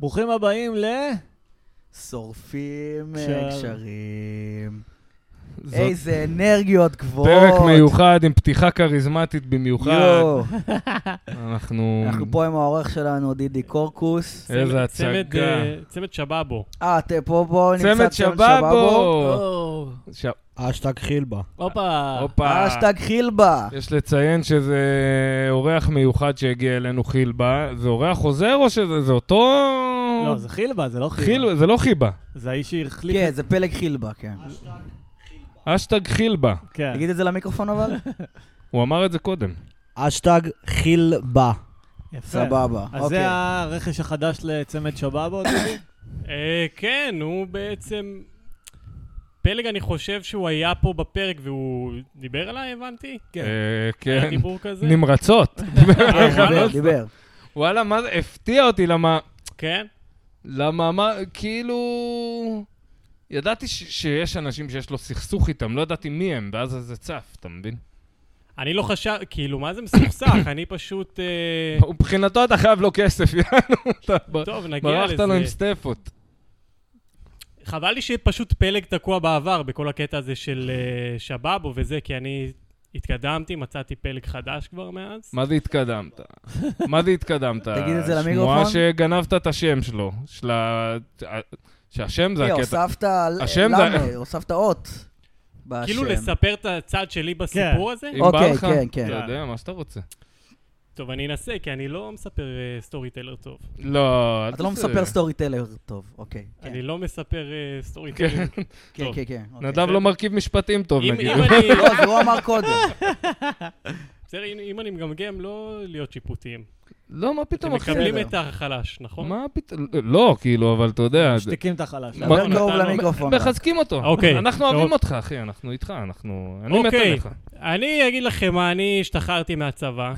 ברוכים הבאים ל... שורפים קשר. אה, קשרים. זאת איזה אנרגיות גבוהות. פרק מיוחד עם פתיחה כריזמטית במיוחד. יואו. אנחנו... אנחנו פה עם העורך שלנו, דידי קורקוס. איזה צמד- הצגה. צמד, אה, צמד שבאבו. אה, אתה פה, בואו נמצא צמד שבאבו! או, ש- אשטג חילבה. אה, הופה. הופה. אשטג חילבה. יש לציין שזה אורח מיוחד שהגיע אלינו חילבה. זה אורח חוזר או שזה זה אותו... לא, זה חילבה, זה לא חילבה. חילבה, זה לא חיבה. זה האיש שהחליף... כן, זה פלג חילבה, כן. אשטג חילבה. כן. תגיד את זה למיקרופון אבל. הוא אמר את זה קודם. אשטג חילבה. יפה. סבבה, אז אוקיי. זה הרכש החדש לצמד שבאבו, דודי? אה, כן, הוא בעצם... פלג, אני חושב שהוא היה פה בפרק והוא דיבר עליי, הבנתי? כן. אה, היה כן. דיבור כזה? נמרצות. אה, כן, דיבר, וואלה? דיבר. וואלה, מה זה? הפתיע אותי למה... כן? למה, מה, כאילו... ידעתי ש- שיש אנשים שיש לו סכסוך איתם, לא ידעתי מי הם, ואז זה צף, אתה מבין? אני לא חשב... כאילו, מה זה מסוכסך? אני פשוט... אה, מבחינתו אתה חייב לו כסף, יענו, אתה ב- טוב, נגיע ברחת לו עם לזה. סטפות. חבל לי שפשוט פלג תקוע בעבר בכל הקטע הזה של אה, שבאבו וזה, כי אני התקדמתי, מצאתי פלג חדש כבר מאז. מה זה התקדמת? מה זה התקדמת? תגיד את זה שמועה למיקרופון. שגנבת את השם שלו, של ה... שהשם זה אה, הקטע. הוספת השם זה- למה, הוספת אות. בשם. כאילו לספר את הצד שלי בסיפור הזה? אם בא אוקיי, לך, כן, כן. אתה יודע, מה שאתה רוצה. טוב, אני אנסה, כי אני לא מספר אה, סטורי טלר טוב. לא, אל אתה לא תעשה. מספר סטורי טלר טוב, אוקיי. כן, אני לא מספר אה, סטורי כן. טלר. כן, טוב. כן, כן. אוקיי. נדב לא מרכיב משפטים טוב, אם נגיד. אם אני... לא, זה הוא אמר קודם. בסדר, אם- אם אני מגמגם, לא להיות שיפוטיים. לא, מה אתם פתאום, אחי? מקבלים בסדר. את החלש, נכון? מה פתאום? לא, כאילו, אבל אתה יודע... משתיקים את החלש. אה, מה- דבר קרוב נתנו- למיקרופון. רק. מחזקים אותו. אוקיי. אנחנו אוהבים טוב. אותך, אחי, אנחנו איתך, אנחנו... אני מת אוקיי. עליך. אני אגיד לכם מה, אני השתחררתי מהצבא,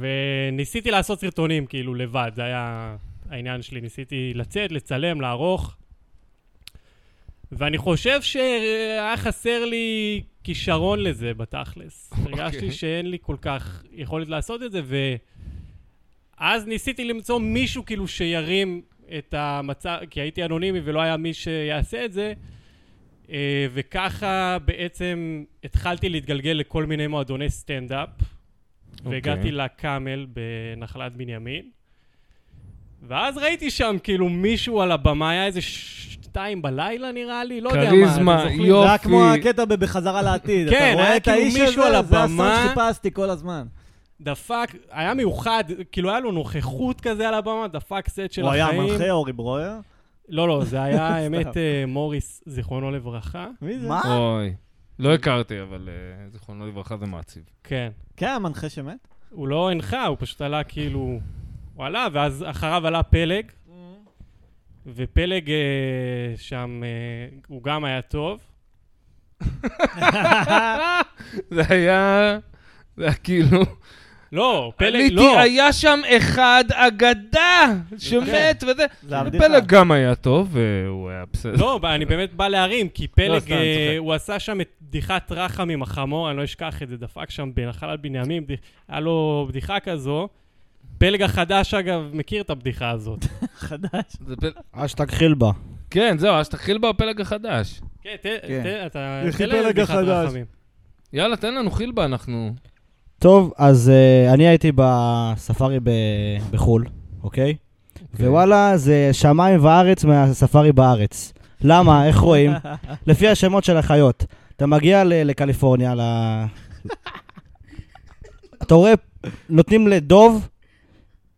וניסיתי לעשות סרטונים, כאילו, לבד. זה היה העניין שלי. ניסיתי לצאת, לצלם, לערוך. ואני חושב שהיה חסר לי כישרון לזה בתכלס. הרגשתי שאין לי כל כך יכולת לעשות את זה, ואז ניסיתי למצוא מישהו כאילו שירים את המצב, כי הייתי אנונימי ולא היה מי שיעשה את זה, אה, וככה בעצם התחלתי להתגלגל לכל מיני מועדוני סטנדאפ, והגעתי לקאמל בנחלת בנימין. ואז ראיתי שם כאילו מישהו על הבמה, היה איזה שתיים בלילה נראה לי, לא יודע מה. אתם כריזמה, זוכרים? יופי. זה היה כמו הקטע ב- בחזרה לעתיד. כן, אתה רואה היה את כאילו האיש מישהו הזה, על זה הסרט הבמה. שחיפשתי כל הזמן. דפק, היה מיוחד, כאילו היה לו נוכחות כזה על הבמה, דפק סט של הוא היה החיים. המנחה אורי ברויר? לא, לא, זה היה האמת סתם. אה, מוריס, זיכרונו לברכה. מי זה? מה? אוי. לא הכרתי, אבל אה, זיכרונו לברכה זה מעציב. כן. כן, המנחה שמת. הוא לא הנחה, הוא פשוט עלה כאילו... הוא עלה, ואז אחריו עלה פלג, Mm. ופלג אה, שם, אה, הוא גם היה טוב. זה היה... זה היה כאילו... לא, פלג, עליתי, לא. היה שם אחד אגדה שמת וזה. זה הבדיחה. פלג גם היה טוב, והוא היה בסדר. לא, אני באמת בא להרים, כי לא, פלג, סתם, אני אה, צוחק. הוא עשה שם את בדיחת רחם עם החמור, אני לא אשכח את זה, דפק שם בנחלת בנימין, בדיח- היה לו בדיחה כזו. פלג החדש, אגב, מכיר את הבדיחה הזאת. חדש. זה פל- אשטג חילבה. כן, זהו, אז תתחיל בפלג החדש. כן, ת- כן. ת- אתה... יחי תן להם פלג בדיחת החדש. רחמים. יאללה, תן לנו חילבה, אנחנו... טוב, אז אה, אני הייתי בספארי ב- בחו"ל, אוקיי? ווואלה, זה שמיים וארץ מהספארי בארץ. למה? איך רואים? לפי השמות של החיות. אתה מגיע ל- לקליפורניה, ל... אתה רואה, נותנים לדוב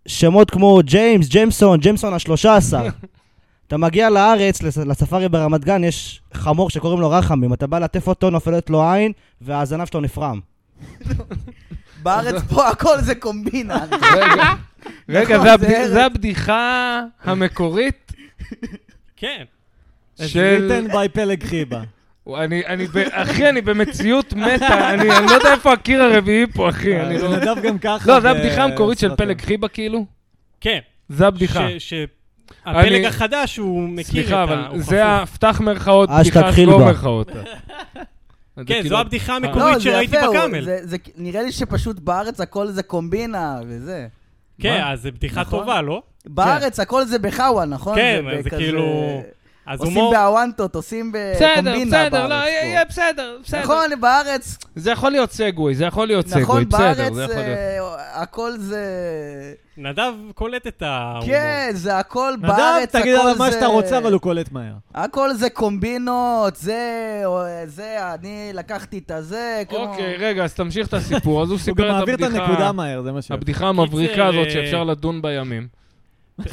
שמות כמו ג'יימס, ג'יימסון, ג'יימסון השלושה עשר. אתה מגיע לארץ, לס- לספארי ברמת גן, יש חמור שקוראים לו רחמים. אתה בא לעטף אותו, נופלת לו עין, והזנב שלו נפרם. בארץ פה הכל זה קומבינה. רגע, רגע, נכון, זה זה הבד- ארץ. זה הבדיחה המקורית כן. של... ריטן ביי פלג חיבה. וואי, אני, אני, ב- אחי, אני במציאות מתה, אני, אני לא יודע איפה הקיר הרביעי פה, אה, אחי, אני לא... אה, נדב גם ככה. לא, ב- זו הבדיחה המקורית של סרטים. פלג חיבה, כאילו? כן. זו הבדיחה. ש... ש- הפלג אני- החדש, הוא מכיר את ה... סליחה, אבל הוא זה חשוף. הפתח מירכאות, אשתג בדיחה חילבה. שלא מירכאות. זה כן, כאילו- זו הבדיחה לא, המקורית זה שראיתי יפה, הוא- בקאמל. זה- זה- נראה לי שפשוט בארץ הכל זה קומבינה וזה. כן, מה? אז זו בדיחה נכון. טובה, לא? בארץ הכל זה בחאווה, נכון? כן, זה זה בכזה- כאילו- אז עושים הומור... באוונטות, עושים בסדר, בקומבינה בסדר, לא, בארץ פה. יהיה יהיה בסדר, בסדר. נכון, בארץ, זה יכול להיות סגווי, זה יכול להיות סגווי, נכון, בסדר, בארץ זה יכול להיות. אה, הכל זה... נדב קולט את ההומור. כן, זה הכל נדב, בארץ, הכל זה... תגיד עליו מה שאתה רוצה, אבל הוא קולט מהר. הכל זה קומבינות, זה, או- זה, אני לקחתי את הזה, כמו... אוקיי, רגע, אז תמשיך את הסיפור. אז הוא הוא גם סיפר את מעביר את הנקודה הבדיחה... מהר, זה מה ש... הבדיחה המבריקה קיצר, הזאת אה, שאפשר לדון בימים. אני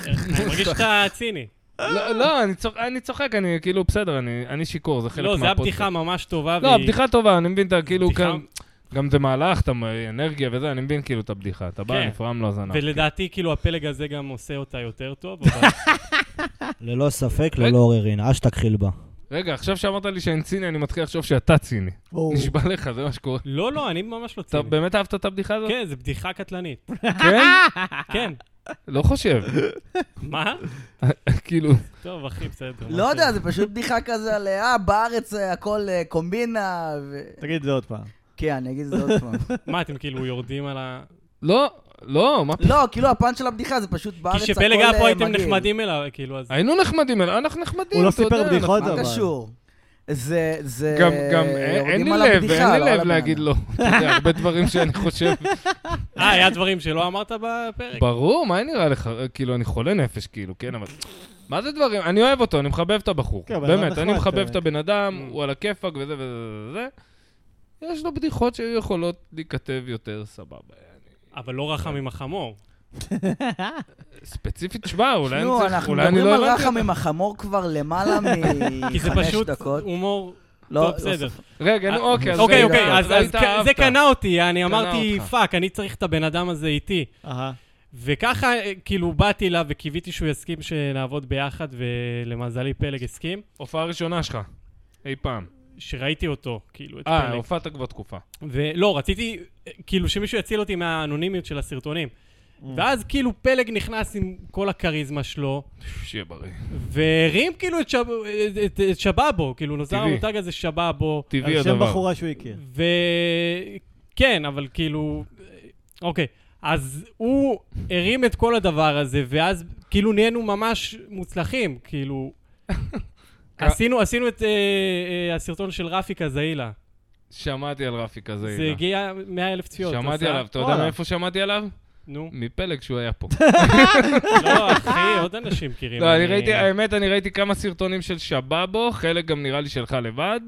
מרגיש שאתה ציני. לא, לא, אני צוחק- אני צוחק, אני כאילו, בסדר, אני אני שיכור, זה חלק לא, מהפודקאסט. זו הייתה בדיחה ממש טובה. לא, והיא- הבדיחה טובה, אני מבין, אתה כאילו, בדיחה- כאן- גם זה מהלך, אתה מ- אנרגיה וזה, אני מבין כאילו את הבדיחה. אתה בא, כן. נפרם לו הזנב. ולדעתי, כאילו, הפלג הזה גם עושה אותה יותר טוב, אבל... ללא ספק, ללא עוררין, אשתק חילבה. רגע, עכשיו שאמרת לי שאני ציני, אני מתחיל לחשוב שאתה ציני. ברור. נשבע לך, זה מה שקורה. לא, לא, אני ממש לא אתה ציני. באמת לא? אהבת את הבדיחה הזאת? כן, זו בדיחה קטלנית. כן? כן. לא חושב. מה? כאילו, טוב, אחי, בסדר. לא יודע, זה פשוט בדיחה כזה על אה, בארץ אה, הכל אה, קומבינה, ו... תגיד את זה עוד פעם. כן, אני אגיד את זה עוד פעם. מה, אתם כאילו יורדים על ה... לא, לא, מה לא, כאילו הפאנץ' של הבדיחה זה פשוט בארץ כי הכל אה, שפלג היה פה הייתם מגעיל. נחמדים אליו, כאילו, אז... היינו נחמדים, אל- אנחנו נחמדים, הוא לא אתה סיפר יודע, בדיחות, מה אבל. קשור? זה, זה... אנחנו- גם, גם, אין אין לי אה, יורדים על לב, הבדיחה, אין לא לי על לב הבן להגיד אדם. לא. אתה יודע, הרבה דברים שאני חושב. אה, היה דברים שלא אמרת בפרק. ברור, מה נראה לך? כאילו, אני חולה נפש, כאילו, כן, אבל... מה זה דברים? אני אוהב אותו, אני מחבב את הבחור. כן, הבן אדם באמת, אני נחמד, מחבב אה, את הבן Mm. אדם, הוא על הכיפאק וזה וזה וזה. יש לו בדיחות שהיו יכולות להיכתב יותר סבבה. אבל לא רחם כן. עם החמור. ספציפית, שמע, אולי אני נו, צריך, אנחנו אולי אני מדברים לא על הבנתי. רחם עם החמור כבר למעלה כי זה מחמש פשוט דקות. הומור... לא, טוב, לא בסדר. רגע, נו, אה, אוקיי, אז אוקיי, רגע, אוקיי, אז אז אז ראית, כ- זה אהבת. קנה אותי, אני אמרתי, אותך. פאק, אני צריך את הבן אדם הזה איתי. אהה. וככה, אה, כאילו, באתי אליו וקיוויתי שהוא יסכים שנעבוד ביחד, ולמזלי פלג הסכים. הופעה ראשונה שלך, אי פעם. שראיתי אותו, כאילו, את אה, פלג. הופעת כבר תקופה. ולא, רציתי, אה, כאילו, שמישהו יציל אותי מהאנונימיות של הסרטונים. Mm. ואז כאילו פלג נכנס עם כל הכריזמה שלו, שיהיה בריא. והרים כאילו את, שב... את, את, את שבאבו, כאילו נוצר טבעי. המותג הזה שבאבו. טבעי על שם הדבר. בחורה שהוא כן. הכיר. וכן, אבל כאילו... אוקיי. אז הוא הרים את כל הדבר הזה, ואז כאילו נהיינו ממש מוצלחים, כאילו... עשינו, עשינו את אה, אה, הסרטון של רפי קזאילה. שמעתי על רפי כזה. זה הגיע 100 אלף צפיות. שמעתי עשה- עליו, אתה יודע וואלה. מאיפה שמעתי עליו? נו. מפלג שהוא היה פה. לא, אחי, עוד אנשים מכירים. לא, אני ראיתי, האמת, אני ראיתי כמה סרטונים של שבאבו, חלק גם נראה לי שלך לבד,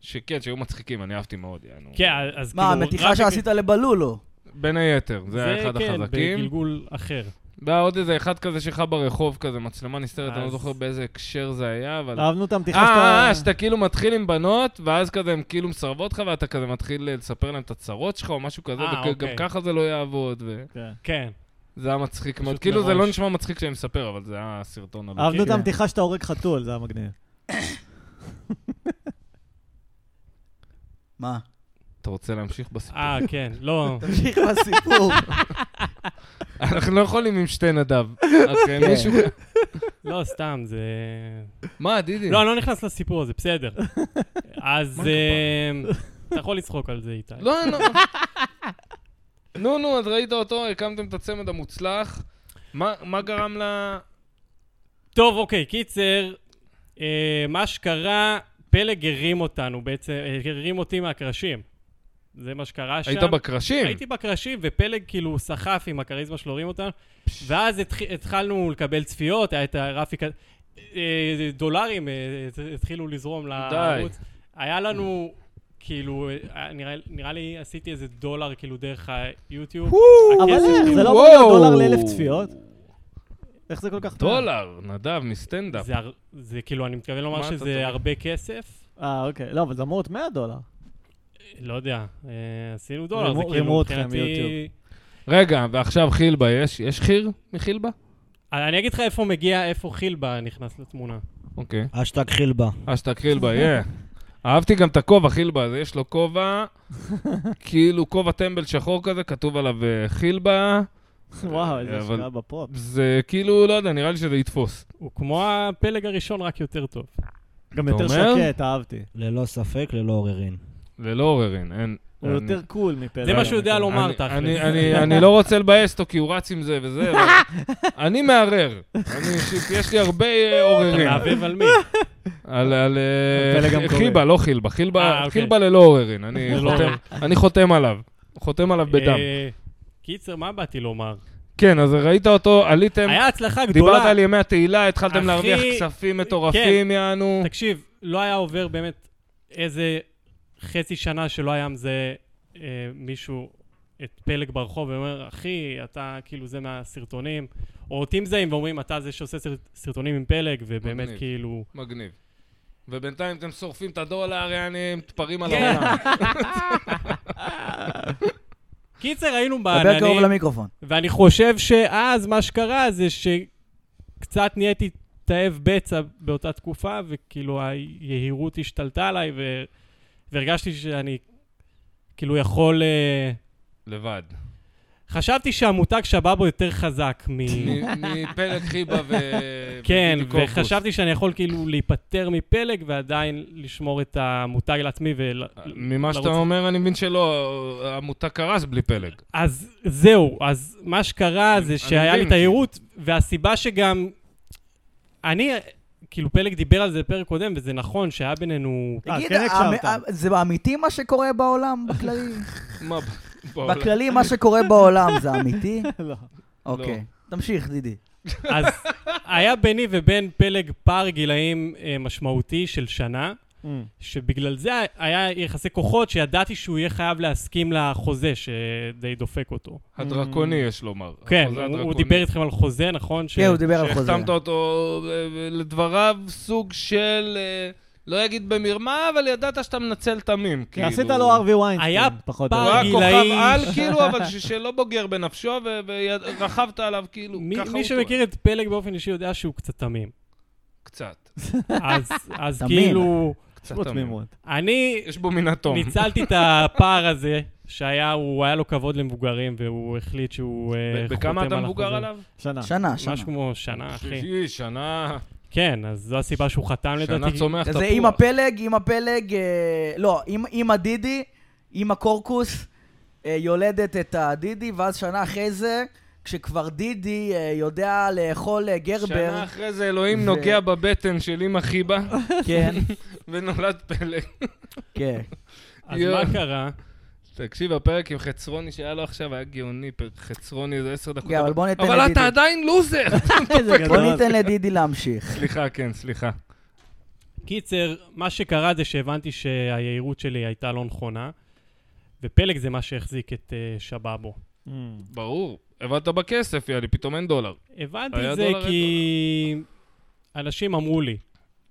שכן, שהיו מצחיקים, אני אהבתי מאוד, יענו. כן, אז כאילו... מה, המתיחה רפי- שעשית לבלולו. בין היתר, זה היה אחד כן, החזקים. בגלגול אחר. והיה עוד איזה אחד כזה שלך ברחוב כזה, מצלמה נסתרת, אני לא אז- זוכר באיזה הקשר זה היה, אבל... אהבנו את המתיחה אה, אה, שאתה... שאתה כאילו מתחיל עם בנות, ואז כזה הם כאילו מסרבות לך, ואתה כזה מתחיל אה, לספר להם את הצרות שלך או משהו כזה, אה, וגם אוקיי. ככה זה לא יעבוד. ו- כן. כן. זה היה מצחיק מאוד. פשוט כאילו זה לא מראש. נשמע מצחיק כשאני מספר, אבל זה היה סרטון על... אהבנו את כן. המתיחה שאתה הורג חתול, זה היה מגניב. כן. מה? אתה רוצה להמשיך בסיפור? אה, כן, לא. תמשיך בסיפור. אנחנו לא יכולים עם שתי נדב. אוקיי. אחי, כן. מישהו... לא, סתם, זה... מה, דידי? לא, אני לא נכנס לסיפור הזה, בסדר. אז כן. מה אה, אתה יכול לצחוק על זה, איתי. לא, לא. נו, נו, אז ראית אותו, הקמתם את הצמד המוצלח. מה מה גרם ל... טוב, אוקיי, קיצר, אה, מה שקרה, פלג הרים אותנו בעצם, אה, הרים אותי מהקרשים. זה מה שקרה שם. היית כן. בקרשים? הייתי בקרשים, ופלג כאילו סחף עם הכריזמה שלו, הרים אותנו, ואז התח... התחלנו לקבל צפיות, היה את הרפי כזה, אה, דולרים אה, הת- התחילו לזרום לערוץ. היה לנו, כאילו, אה, נראה, נראה לי עשיתי איזה דולר כאילו דרך היוטיוב. אבל הכסף- איך, זה לא וואו. אמור להיות דולר לאלף צפיות? איך זה כל כך... טוב? דולר, נדב, מסטנדאפ. זה, הר- זה כאילו, אני מתכוון מה לומר אתה שזה צוחק? הרבה כסף. אה, אוקיי. לא, אבל זה אמור להיות 100 דולר. לא יודע, אה, עשינו דולר, זה רימו- כאילו רימו אתכם מבחינתי... מיוטיוב. רגע, ועכשיו חילבה, יש יש חיר מחילבה? אה, אני אגיד לך איפה מגיע, איפה חילבה נכנס לתמונה. אוקיי. אשתק חילבה. אשתק חילבה, יא. אהבתי גם את הכובע, חילבה, אז יש לו כובע, כאילו כובע טמבל שחור כזה, כתוב עליו אה, חילבה. וואו, איזה אבל- השקעה בפרופ. זה כאילו, לא יודע, נראה לי שזה יתפוס. הוא כמו הפלג הראשון, רק יותר טוב. גם אתה יותר אומר? שקט, אהבתי. ללא ספק, ללא עוררין. ללא עוררין, אין, הוא אני- יותר כן, קול מפלד. כן. זה מה שהוא יודע לומר, כן, אני- תכל'ס. אני- אני- אני לא רוצה לבאס אותו, כי הוא רץ עם זה וזה, אבל אני מערער. אני אישית, יש לי הרבה אה, אתה עוררים. מעבב על מי? על- על אה, פלא גם ח- קורה. חיבה, לא חילבה. חילבה אה, אוקיי. חילבה ללא עוררין. אני חותם- ללא עוררין. אני חותם עליו. חותם עליו בדם. אה, קיצר, מה באתי לומר? כן, אז ראית אותו, עליתם, היה הצלחה גדולה. דיברת על ימי התהילה, התחלתם אחי, כן. להרוויח כספים מטורפים, יענו. תקשיב, לא היה עובר באמת איזה חצי שנה שלא היה מזה אה, מישהו, את פלג ברחוב, ואומר, אחי, אתה כאילו זה מהסרטונים, או אותי מזהים ואומרים, אתה זה שעושה סרט, סרטונים עם פלג, ובאמת מגניב. כאילו... מגניב. ובינתיים אתם שורפים את הדולר, יעני, מתפרעים כן. על העולם. קיצר, היינו דבר קרוב בעננים, למיקרופון. ואני חושב שאז מה שקרה זה שקצת נהייתי תאב בצע באותה תקופה, וכאילו היהירות השתלטה עליי, ו... והרגשתי שאני כאילו יכול... אה, לבד. חשבתי שהמותג שבאבו יותר חזק מ... מ- מפלג חיבה ו... כן, וקורפוס. וחשבתי שאני יכול כאילו להיפטר מפלג ועדיין לשמור את המותג לעצמי ול... אה, ממה שאתה לרוץ. אומר, אני מבין שלא, העמותה קרס בלי פלג. אז זהו, אז מה שקרה כן, אני זה שהיה לי מבין. תיירות, והסיבה שגם... אני, כאילו פלג דיבר על זה בפרק קודם, וזה נכון שהיה בינינו... אה, תגיד, כן המ- הקשבת. ה- זה אמיתי מה שקורה בעולם בכללי? מה, בעולם? בכללי, מה שקורה בעולם זה אמיתי? לא. אוקיי. תמשיך, דידי. אז היה ביני ובין פלג פער גילאים אה, משמעותי של שנה. אה. שבגלל זה היה יחסי כוחות, שידעתי שהוא יהיה חייב להסכים לחוזה שדי דופק אותו. הדרקוני, יש לומר. כן, החוזה הוא- הוא הדרקוני. דיבר איתכם על חוזה, נכון? ש- כן, הוא דיבר על חוזה. שהחתמת אותו, אה, לדבריו, סוג של, אה, לא אגיד במרמה, אבל ידעת שאתה מנצל תמים. כי כאילו. כן, עשית לו ארווי ווינסטיין. היה פחות או הוא פער יותר. היה כוכב גילאי. על, כאילו, אבל ש- שלא בוגר בנפשו, ורכבת עליו, כאילו, מי- ככה הוא מי שמכיר את פלג באופן אישי יודע שהוא קצת תמים. טוען. קצת, אז- אז תמים. כאילו, יש קצת בו תמים. תמימות. אני יש בו מן התום. ניצלתי את הפער הזה, שהיה, הוא היה לו כבוד למבוגרים, והוא החליט שהוא אה, חותם ב- על החוזה. בכמה אתה מבוגר עליו? שנה. שנה, שנה. משהו כמו שנה, אחי. שישי, שנה, כן, אז זו הסיבה שהוא חתם לדעתי. שנה צומח תפוח. זה עם הפלג, עם הפלג, אה, לא, עם- עם הדידי, עם הקורקוס, אה, יולדת את הדידי, ואז שנה אחרי זה, כשכבר דידי אה, יודע לאכול אה, שנה גרבר, אחרי זה אלוהים ו- נוגע בבטן של אמא חיבה, כן, ונולד פלג. כן. אז יואו. מה קרה? תקשיב, הפרק עם חצרוני שהיה לו עכשיו היה גאוני, פרק חצרוני זה עשר דקות. כן, אבל בוא ניתן אבל לדידי. אתה עדיין לוזר! איזה גדול. בוא ניתן לדידי להמשיך. סליחה, כן, סליחה. קיצר, מה שקרה זה שהבנתי שהיהירות שלי הייתה לא נכונה, ופלג זה מה שהחזיק את uh, שבאבו. אה. ברור. עבדת בכסף, יאללה, פתאום אין דולר. הבנתי היה את זה דולר, כי אנשים אמרו לי,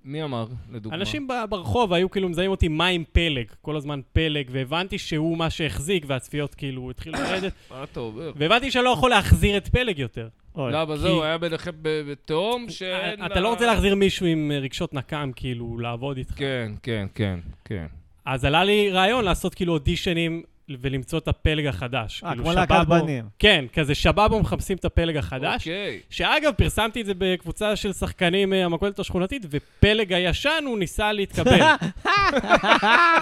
מי אמר, לדוגמה? אנשים ב- ברחוב היו כאילו מזהים אותי מה עם פלג, כל הזמן פלג, והבנתי שהוא מה שהחזיק, והצפיות כאילו התחילו לרדת, מה אתה אומר? והבנתי שאני לא יכול להחזיר את פלג יותר. אוי. אה, למה זהו, היה ביניכם ב- בתהום שאין... אתה לה- לא רוצה להחזיר מישהו עם אה, רגשות נקם, כאילו, לעבוד איתך. כן, כן, כן, כן. אז עלה לי רעיון לעשות כאילו אודישנים ולמצוא את הפלג החדש. אה, כאילו, כמו להקת שבאבו- בנים. כן, כזה שבאבו מחפשים את הפלג החדש. אוקיי. שאגב, פרסמתי את זה בקבוצה של שחקנים אה, המכולת השכונתית, ופלג הישן, הוא ניסה להתקבל.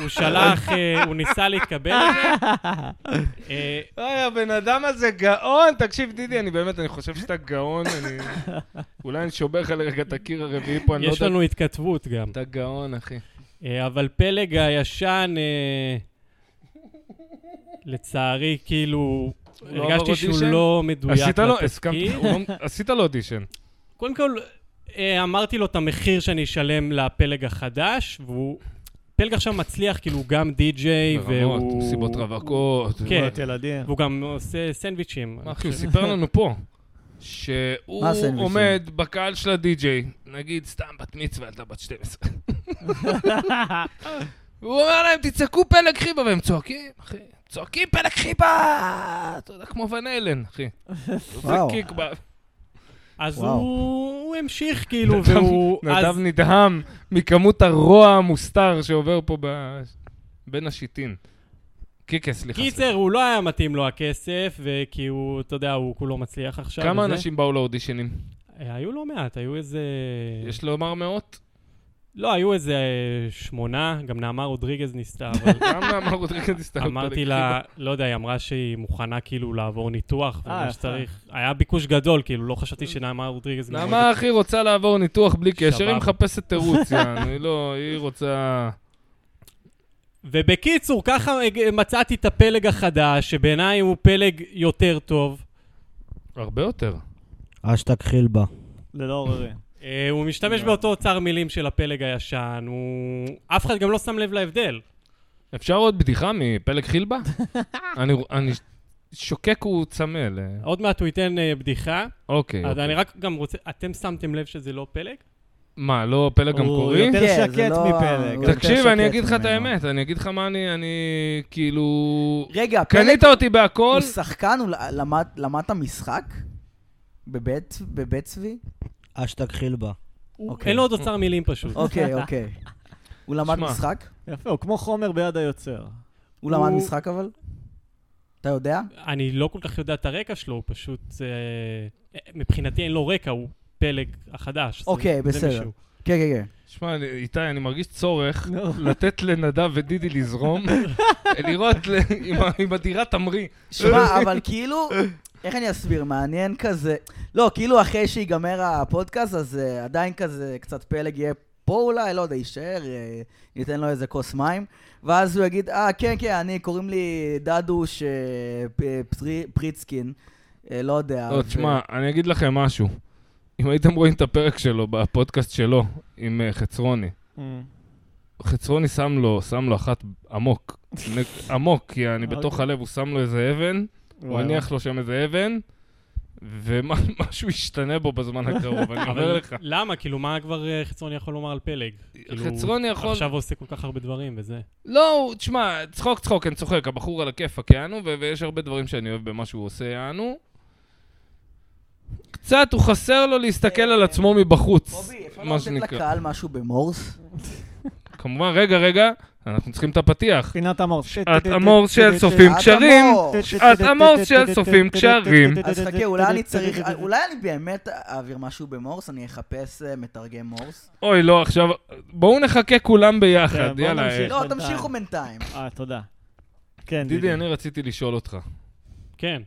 הוא שלח, אה, הוא ניסה להתקבל לזה. אה, אוי, הבן אדם הזה גאון! תקשיב, דידי, אני באמת, אני חושב שאתה גאון, אני... אולי אני שובר לך לרגע את הקיר הרביעי פה, אני לא יש יודע... לנו התכתבות גם. אתה גאון, אחי. אה, אבל פלג הישן, אה, לצערי, כאילו, הוא לא עבר הרגשתי שהוא אודישן? לא מדויק עשית לו, הסכמת, לתפקיד. הוא לא- עשית לו אודישן. קודם כל, אה, אמרתי לו את המחיר שאני אשלם לפלג החדש, והוא... פלג עכשיו מצליח, כאילו, הוא גם די-ג'יי, ברמות, והוא... מסיבות רווקות. כן. בת ילדים. והוא גם עושה סנדוויצ'ים. מה, אחי, הוא סיפר לנו פה. שהוא מה הסנדוויצ'ים? עומד בקהל של הדי-ג'יי, נגיד סתם בת מצווה, ילדה בת 12. והוא אומר להם, תצעקו פלג חיבה, והם צועקים, אחי, צועקים פלג חיבה! אתה יודע, כמו ון אלן, אחי. עושה וואו. קיק ב... אז וואו. הוא הוא המשיך, כאילו, נדב- והוא... נדב אז- נדהם מכמות הרוע המוסתר שעובר פה ב- בין השיטין. קיקה, סליחה. קיצר, הוא לא היה מתאים לו הכסף, וכי הוא, אתה יודע, הוא כולו מצליח עכשיו. כמה וזה. אנשים באו לאודישנים? אה, היו לא מעט, היו איזה... יש לומר מאות? לא, היו איזה אה, שמונה, גם נעמה רודריגז ניסתה, אבל גם נעמה רודריגז הסתלבטה. אמרתי לה, לא יודע, היא אמרה שהיא מוכנה כאילו לעבור ניתוח אה, ומה יפה. שצריך. היה ביקוש גדול, כאילו, לא חשבתי שנעמה רודריגז... גם נעמה אחי רוצה לעבור ניתוח בלי קשר, סבבה. היא מחפשת תירוץ, יענו, היא לא, היא רוצה... ובקיצור, ככה הג- מצאתי את הפלג החדש, שבעיניי הוא פלג יותר טוב. הרבה יותר. אשטג חילבה. ללא עוררין. אה, הוא משתמש באותו אוצר מילים של הפלג הישן, הוא... אף אחד גם לא שם לב להבדל. אפשר עוד בדיחה מפלג חילבה? אני, אני שוקק הוא צמא ל... עוד מעט הוא ייתן אה, בדיחה. אוקיי. אז אוקיי. אני רק גם רוצה... אתם שמתם לב שזה לא פלג? מה, לא פלג גם הוא קורי? יותר כן, זה שקט לא- מפלג. הוא יותר תקשיב, אני שקט אגיד לך את ממנו. האמת, אני אגיד לך מה אני, אני כאילו... רגע, פלג קנית אותי בהכל, הוא שחקן, הוא ל- למד- למד את המשחק? בבית בבית צבי? אשטג חילבה. אוקיי. אין לו עוד אוצר מילים פשוט. אוקיי, אוקיי. הוא למד שמע. משחק? יפה, הוא כמו חומר ביד היוצר. הוא למד הוא- משחק אבל? אתה יודע? אני לא כל כך יודע את הרקע שלו, הוא פשוט... אה, מבחינתי אין לו רקע, הוא פלג החדש. זה- אוקיי, זה בסדר. מישהו. כן, כן, כן. שמע, אני- איתי, אני מרגיש צורך לא. לתת לנדב ודידי לזרום, לראות ל- עם ה- עם הדירה תמריא. שמע, אבל כאילו, איך אני אסביר? מעניין כזה. לא, כאילו אחרי שיגמר הפודקאסט, אז אה, עדיין כזה קצת פלג יהיה פה אולי, לא יודע, יישאר, אה, ניתן לו איזה כוס מים. ואז הוא יגיד, אה, כן, כן, אני, קוראים לי דדוש אה, פ- אה, פרי- פריצקין. אה, לא יודע. לא, ו- תשמע, אני אגיד לכם משהו. אם הייתם רואים את הפרק שלו בפודקאסט שלו עם אה, חצרוני, חצרוני שם לו, שם לו אחת עמוק. נק- עמוק, כי אני אוקיי. בתוך הלב, הוא שם לו איזה אבן, הוא וואי, הניח לו שם איזה אבן, ומשהו ישתנה בו בזמן הקרוב, אני אומר אבל לך. למה? כאילו, מה כבר אה, חצרוני יכול לומר על פלג? כאילו, חצרוני יכול... עכשיו הוא עושה כל כך הרבה דברים וזה. לא, הוא- תשמע, צחוק צחוק, אני צוחק, הבחור על הכיפאק, יענו, ו- ויש הרבה דברים שאני אוהב במה שהוא עושה, יענו. קצת, הוא חסר לו להסתכל על עצמו מבחוץ, קובי, אפשר מה לתת שנקרא. לא, לקהל משהו במורס? כמובן, רגע, רגע, אנחנו צריכים את הפתיח. פינת המור. את המור של סופים עד קשרים. המורס. שעת עמוס של סופים קשרים. אז חכה, אולי אני צריך, אולי אני באמת אעביר משהו במורס, אני אחפש אה, מתרגם מורס. אוי, לא, עכשיו, בואו נחכה כולם כן, ביחד, בואו יאללה. נמשיך. אה, לא, בינתיים. תמשיכו בינתיים. אה, תודה. כן, דידי, אני רציתי לשאול אותך. כן.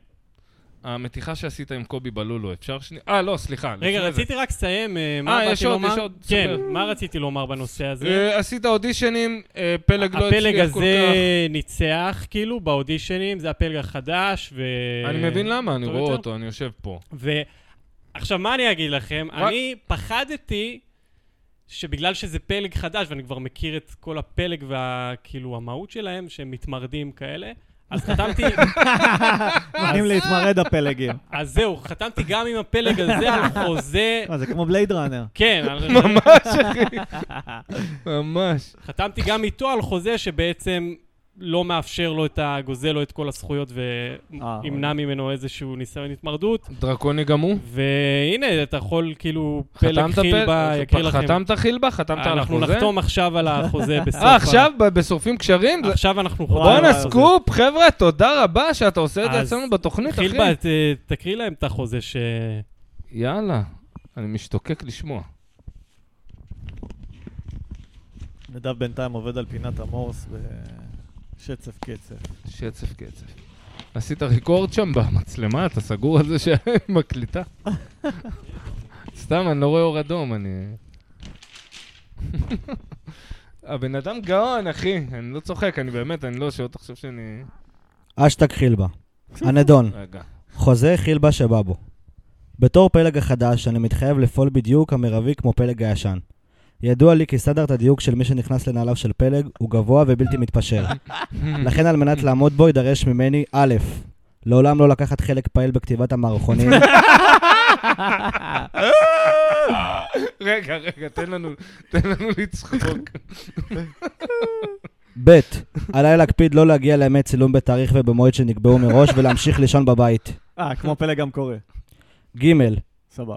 המתיחה שעשית עם קובי בלולו, אפשר שנייה? אה, לא, סליחה. לפני רגע, זה. רציתי רק לסיים, אה, מה אה, יש באתי עוד, לומר? יש עוד, כן, ספר. מה רציתי לומר בנושא הזה? אה, עשית אודישנים, אה, פלג לא הפלג הצליח כל הזה כך. ניצח, כאילו, באודישנים, זה הפלג החדש, ו... אני מבין למה, אני טוב רואה יותר. אותו, אני יושב פה. ועכשיו, מה אני אגיד לכם? מה? אני פחדתי שבגלל שזה פלג חדש, ואני כבר מכיר את כל הפלג והכאילו המהות שלהם, שהם מתמרדים כאלה, אז חתמתי, נותנים להתמרד הפלגים. אז זהו, חתמתי גם עם הפלג הזה על חוזה, מה, אה, זה כמו בלייד ראנר. כן, על- ממש, אחי. ממש. חתמתי גם איתו על חוזה שבעצם לא מאפשר לו את ה... גוזל לו את כל הזכויות אה, וימנע ממנו איזשהו ניסיון התמרדות. דרקוני גם הוא? והנה, אתה יכול כאילו, פלג חתמת חילבה פל- יקריא לכם. חתמת חילבה? חתמת על אנחנו החוזה? נחתום עכשיו על החוזה בסוף. אה, ה- עכשיו? ב- בשורפים קשרים? זה- עכשיו אנחנו וואי, חותמים על בואנה, וואי, החוזה. סקופ, חבר'ה, תודה רבה שאתה עושה את זה אז אצלנו בתוכנית, אחי. חילבה, ת- תקריא להם את החוזה ש... יאללה, אני משתוקק לשמוע. נדב בינתיים עובד על פינת המורס בשצף קצף. שצף קצף. עשית ריקורד שם במצלמה? אתה סגור על זה שמקליטה? סתם, אני לא רואה אור אדום, אני... הבן אדם גאון, אחי. אני לא צוחק, אני באמת, אני לא, שעוד תחשוב שאני... אשטג חילבה. הנדון, רגע. חוזה חילבה שבא בו. בתור פלג החדש, אני מתחייב לפעול בדיוק המרבי כמו פלג הישן. ידוע לי כי סטנדרט הדיוק של מי שנכנס לנעליו של פלג הוא גבוה ובלתי מתפשר. לכן על מנת לעמוד בו יידרש ממני, א', לעולם לא לקחת חלק פעיל בכתיבת המערכונים, רגע, רגע, תן לנו, תן לנו לצחוק. ב', עליי להקפיד לא להגיע לימי צילום בתאריך ובמועד שנקבעו מראש ולהמשיך לישון בבית. אה, כמו פלג גם קורה. ג', סבבה.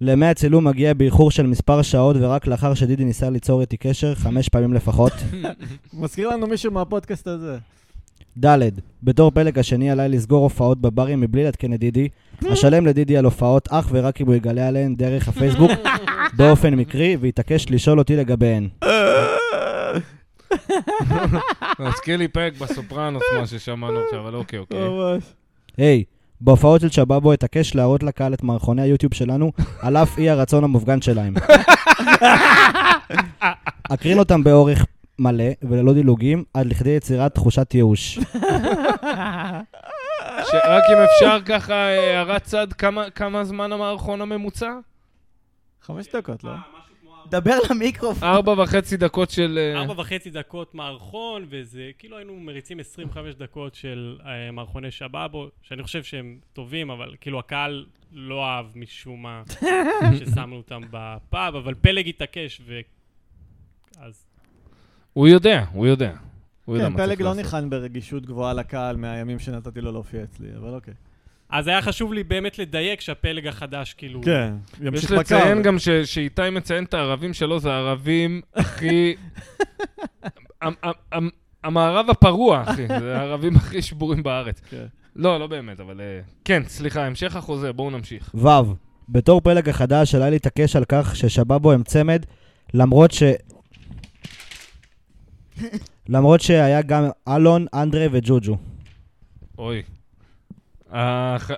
לימי הצילום מגיע באיחור של מספר שעות, ורק לאחר שדידי ניסה ליצור איתי קשר, חמש פעמים לפחות. מזכיר לנו מישהו מהפודקאסט הזה. ד' בתור פלג השני עליי לסגור הופעות בברים מבלי לעדכן את דידי, אשלם לדידי על הופעות אך ורק אם הוא יגלה עליהן דרך הפייסבוק באופן מקרי, ויתעקש לשאול אותי לגביהן. אה, מזכיר לי לא, פרק בסופרנוס, מה ששמענו עכשיו, אבל אוקיי, אוקיי. ממש. היי, בהופעות של שבאבו אתעקש להראות לקהל את מערכוני היוטיוב שלנו, על אף אי הרצון המופגן שלהם. אקרין אותם באורך מלא וללא דילוגים, עד לכדי יצירת תחושת ייאוש. שרק אם אפשר ככה, אה, הערת צד, כמה- כמה זמן המערכון הממוצע? חמש דקות, לא? אה, דבר למיקרופון. ארבע וחצי דקות של... אה, ארבע וחצי דקות מערכון, וזה כאילו היינו מריצים 25 דקות של אה, מערכוני שבאבו, שאני חושב שהם טובים, אבל כאילו הקהל לא אהב משום מה ששמנו אותם בפאב, אבל פלג התעקש, ו... אז הוא יודע, הוא יודע. הוא יודע כן, מה צריך פלג לא לעשות. ניחן ברגישות גבוהה לקהל מהימים שנתתי לו להופיע אצלי, אבל אוקיי. אז היה חשוב לי באמת לדייק שהפלג החדש כאילו... כן, אוקיי. יש ימשיך לציין בקו. גם ש- שאיתי מציין את הערבים שלו, זה הערבים הכי... המ- המ- המ- המערב הפרוע, אחי. זה הערבים הכי שבורים בארץ. כן. לא, לא באמת, אבל... אה, כן, סליחה, המשך החוזה, בואו נמשיך. ו. בתור פלג החדש עליי להתעקש על כך ששבאבו הם צמד, למרות ש... למרות שהיה גם אלון, אנדרי וג'וג'ו. אוי. הח...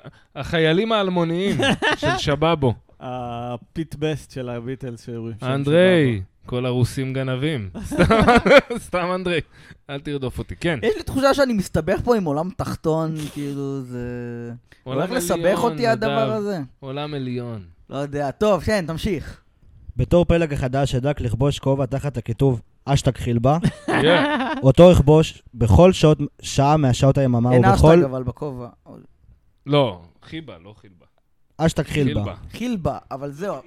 החיילים האלמוניים של שבאבו. הפיט אה, בסט של הביטלס שהוא... שהוא אנדרי, כל הרוסים גנבים. סתם, סתם אנדרי, אל תרדוף אותי. כן. יש לי תחושה שאני מסתבך פה עם עולם תחתון, כאילו זה... הולך עולם לסבך עליון, אותי נדב. הדבר הזה? עולם עליון. לא יודע. טוב, כן, תמשיך. בתור פלג החדש אדאג לכבוש כובע תחת הכיתוב אשתג חילבה, כן. אותו אכבוש בכל שעות, שעה מהשעות היממה אין ובכל אשטג אבל בכובע. לא, חיבה, לא חילבה. אשתג חילבה. חילבה, אבל זהו. זה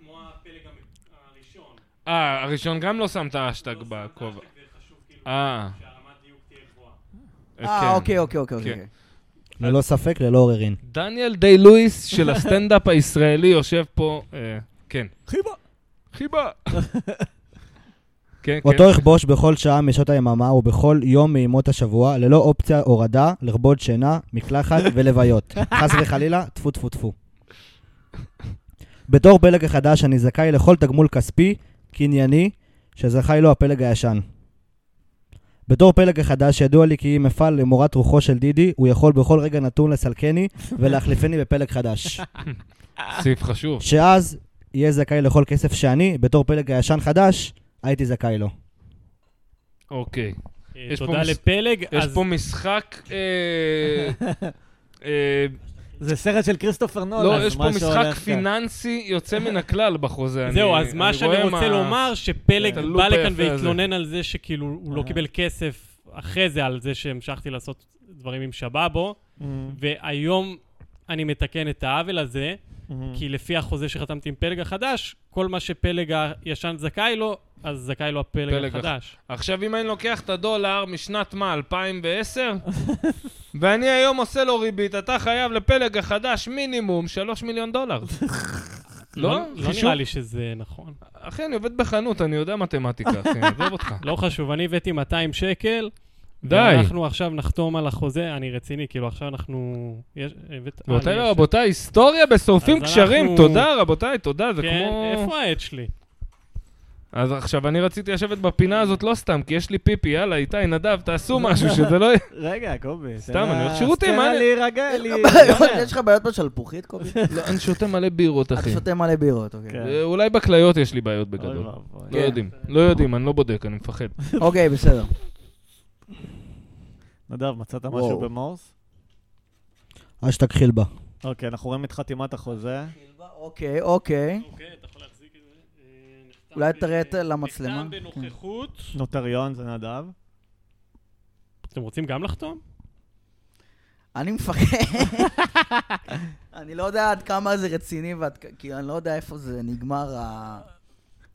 כמו הפלג הראשון. אה, הראשון גם לא שם את האשטג בכובע. כאילו. אה, אה, אוקיי, אוקיי, אוקיי. כן. אוקיי. ללא ספק, ללא עוררין. דניאל דיי לואיס של הסטנדאפ הישראלי יושב פה, אה, כן. חיבה. חיבה. כן, כן. אותו אכבוש בכל שעה משעות היממה ובכל יום מימות השבוע, ללא אופציה הורדה, לרבות שינה, מקלחת ולוויות. חס וחלילה, טפו טפו טפו. בתור פלג החדש אני זכאי לכל תגמול כספי, קנייני, שזכאי לו הפלג הישן. בתור פלג החדש ידוע לי כי אם אפעל למורת רוחו של דידי, הוא יכול בכל רגע נתון לסלקני ולהחליפני בפלג חדש. סעיף חשוב. שאז יהיה זכאי לכל כסף שאני, בתור פלג הישן חדש, הייתי זכאי לו. אוקיי. יש פה אה, תודה מס- לפלג. יש אז- פה משחק... אה, אה, זה סרט של כריסטופר נולן. כן. לא, אז יש פה משהו הולך כאן. משחק פיננסי יוצא מן הכלל בחוזה. אני- זהו, אז אני מה שאני רואה כן, רוצה לומר, את שפלג הלופ בא לכאן היפה הזה. אה. והתלונן על זה שכאילו הוא לא קיבל כסף אחרי זה, על זה שהמשכתי לעשות דברים עם שבאבו, אמ, והיום אני מתקן את העוול הזה, אה. אמ. כי לפי החוזה שחתמתי עם פלג החדש, כל מה שפלג הישן זכאי לו, אז זכאי לו הפלג פלג החדש. עכשיו, אם אני לוקח את הדולר משנת מה, 2010? ואני היום עושה לו ריבית, אתה חייב לפלג החדש מינימום 3 מיליון דולר. לא? לא חישוב? נראה לי שזה נכון. אחי, אני עובד בחנות, אני יודע מתמטיקה, אחי, עזוב אותך. לא חשוב, אני הבאתי 200 שקל. די. ואנחנו עכשיו נחתום על החוזה, אני רציני, כאילו עכשיו אנחנו... יש- הבאת- אה, רבותיי אני- ורבותיי, היסטוריה בשורפים אז קשרים, אנחנו- תודה רבותיי, תודה, זה כן, כמו... איפה העט שלי? אז עכשיו, אני רציתי לשבת בפינה הזאת לא סתם, כי יש לי פיפי, יאללה, איתי, נדב, תעשו משהו, שזה לא יהיה... רגע, קובי. סתם, אני הולך שירותים, מה אני- אני... להירגע, לי... יש לך בעיות בשלפוחית, קובי? לא, אני שותה מלא בירות, אתה אחי. שותה מלא בירות, אוקיי. כן. אה, אולי בכליות יש לי בעיות אוי בגדול. ואבוי. לא יודעים, לא יודעים, אני לא בודק, אני מפחד. אוקיי, בסדר. נדב, מצאת משהו וואו. במורס? אשתג חילבה. אוקיי, אנחנו רואים את חתימת החוזה. אוקיי, אוקיי. אוקיי, אתה יכול להחזיק את זה. אה, אולי תראה את אה, למצלמה. כן. נחתם בנוכחות. נוטריון זה נדב. אתם רוצים גם לחתום? אני מפחד. אני לא יודע עד כמה זה רציני, ועד כ- כי אני לא יודע איפה זה נגמר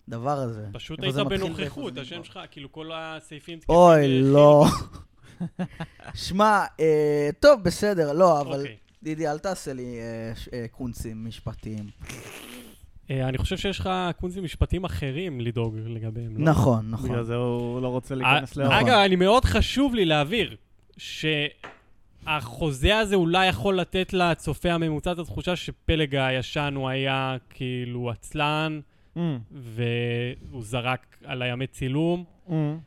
הדבר הזה. פשוט איפה היית זה מתחיל ואיפה בנוכחות, זה השם נגמר. שלך, כאילו כל הסעיפים... תקפים, אה, אוי, חיל. לא. שמע, אה, טוב, בסדר, לא, אבל... אוקיי. דידי, אל תעשה לי אה, ש- אה, קונצים משפטיים. אה, אני חושב שיש לך קונזים משפטים אחרים לדאוג לגביהם. לא? נכון, נכון. בגלל זה הוא לא רוצה להיכנס אה, לאור. אגב, אני מאוד חשוב לי להבהיר שהחוזה הזה אולי יכול לתת לצופה הממוצע את התחושה שפלג הישן הוא היה כאילו עצלן, אמ, והוא זרק על הימי צילום. אמ.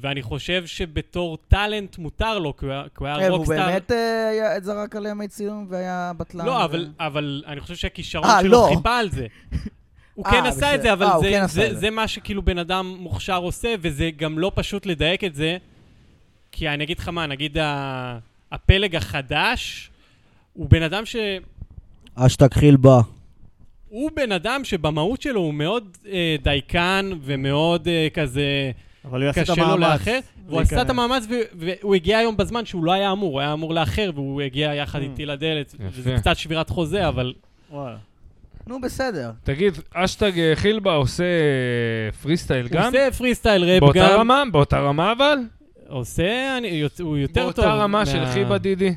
ואני חושב שבתור טאלנט מותר לו, כי הוא היה- כי הוא היה אה, הוא רוקסטאר. באמת אה, היה- זרק עליהם מי ציון והיה בטלן. לא, ו- אבל, אבל אני חושב שהכישרון אה, שלו לא. חיפה על זה. הוא אה, כן עשה את בסדר. זה, אבל אה, הוא זה, כן עשה זה, את זה. זה מה שכאילו בן אדם מוכשר עושה, וזה גם לא פשוט לדייק את זה. כי אני אגיד לך מה, נגיד ה- הפלג החדש, הוא בן אדם ש... אשתק חילבה. הוא בן אדם שבמהות שלו הוא מאוד אה, דייקן ומאוד אה, כזה אבל הוא יעשה את קשה לו המאמץ. לאחר. והוא להיכנס. עשה את המאמץ ו- והוא הגיע היום בזמן שהוא לא היה אמור, הוא היה אמור לאחר והוא הגיע Hmm. יחד איתי לדלת. וזה יפה. קצת שבירת חוזה, אבל לא. וואלה. נו, בסדר. תגיד, אשטג אה, חילבה עושה אה, פרי סטייל הוא גם? עושה פרי סטייל ראפ גם. באותה רמה? באותה רמה אבל? עושה, אני, יוצ- הוא יותר טוב. באותה רמה של מה- חיבה דידי?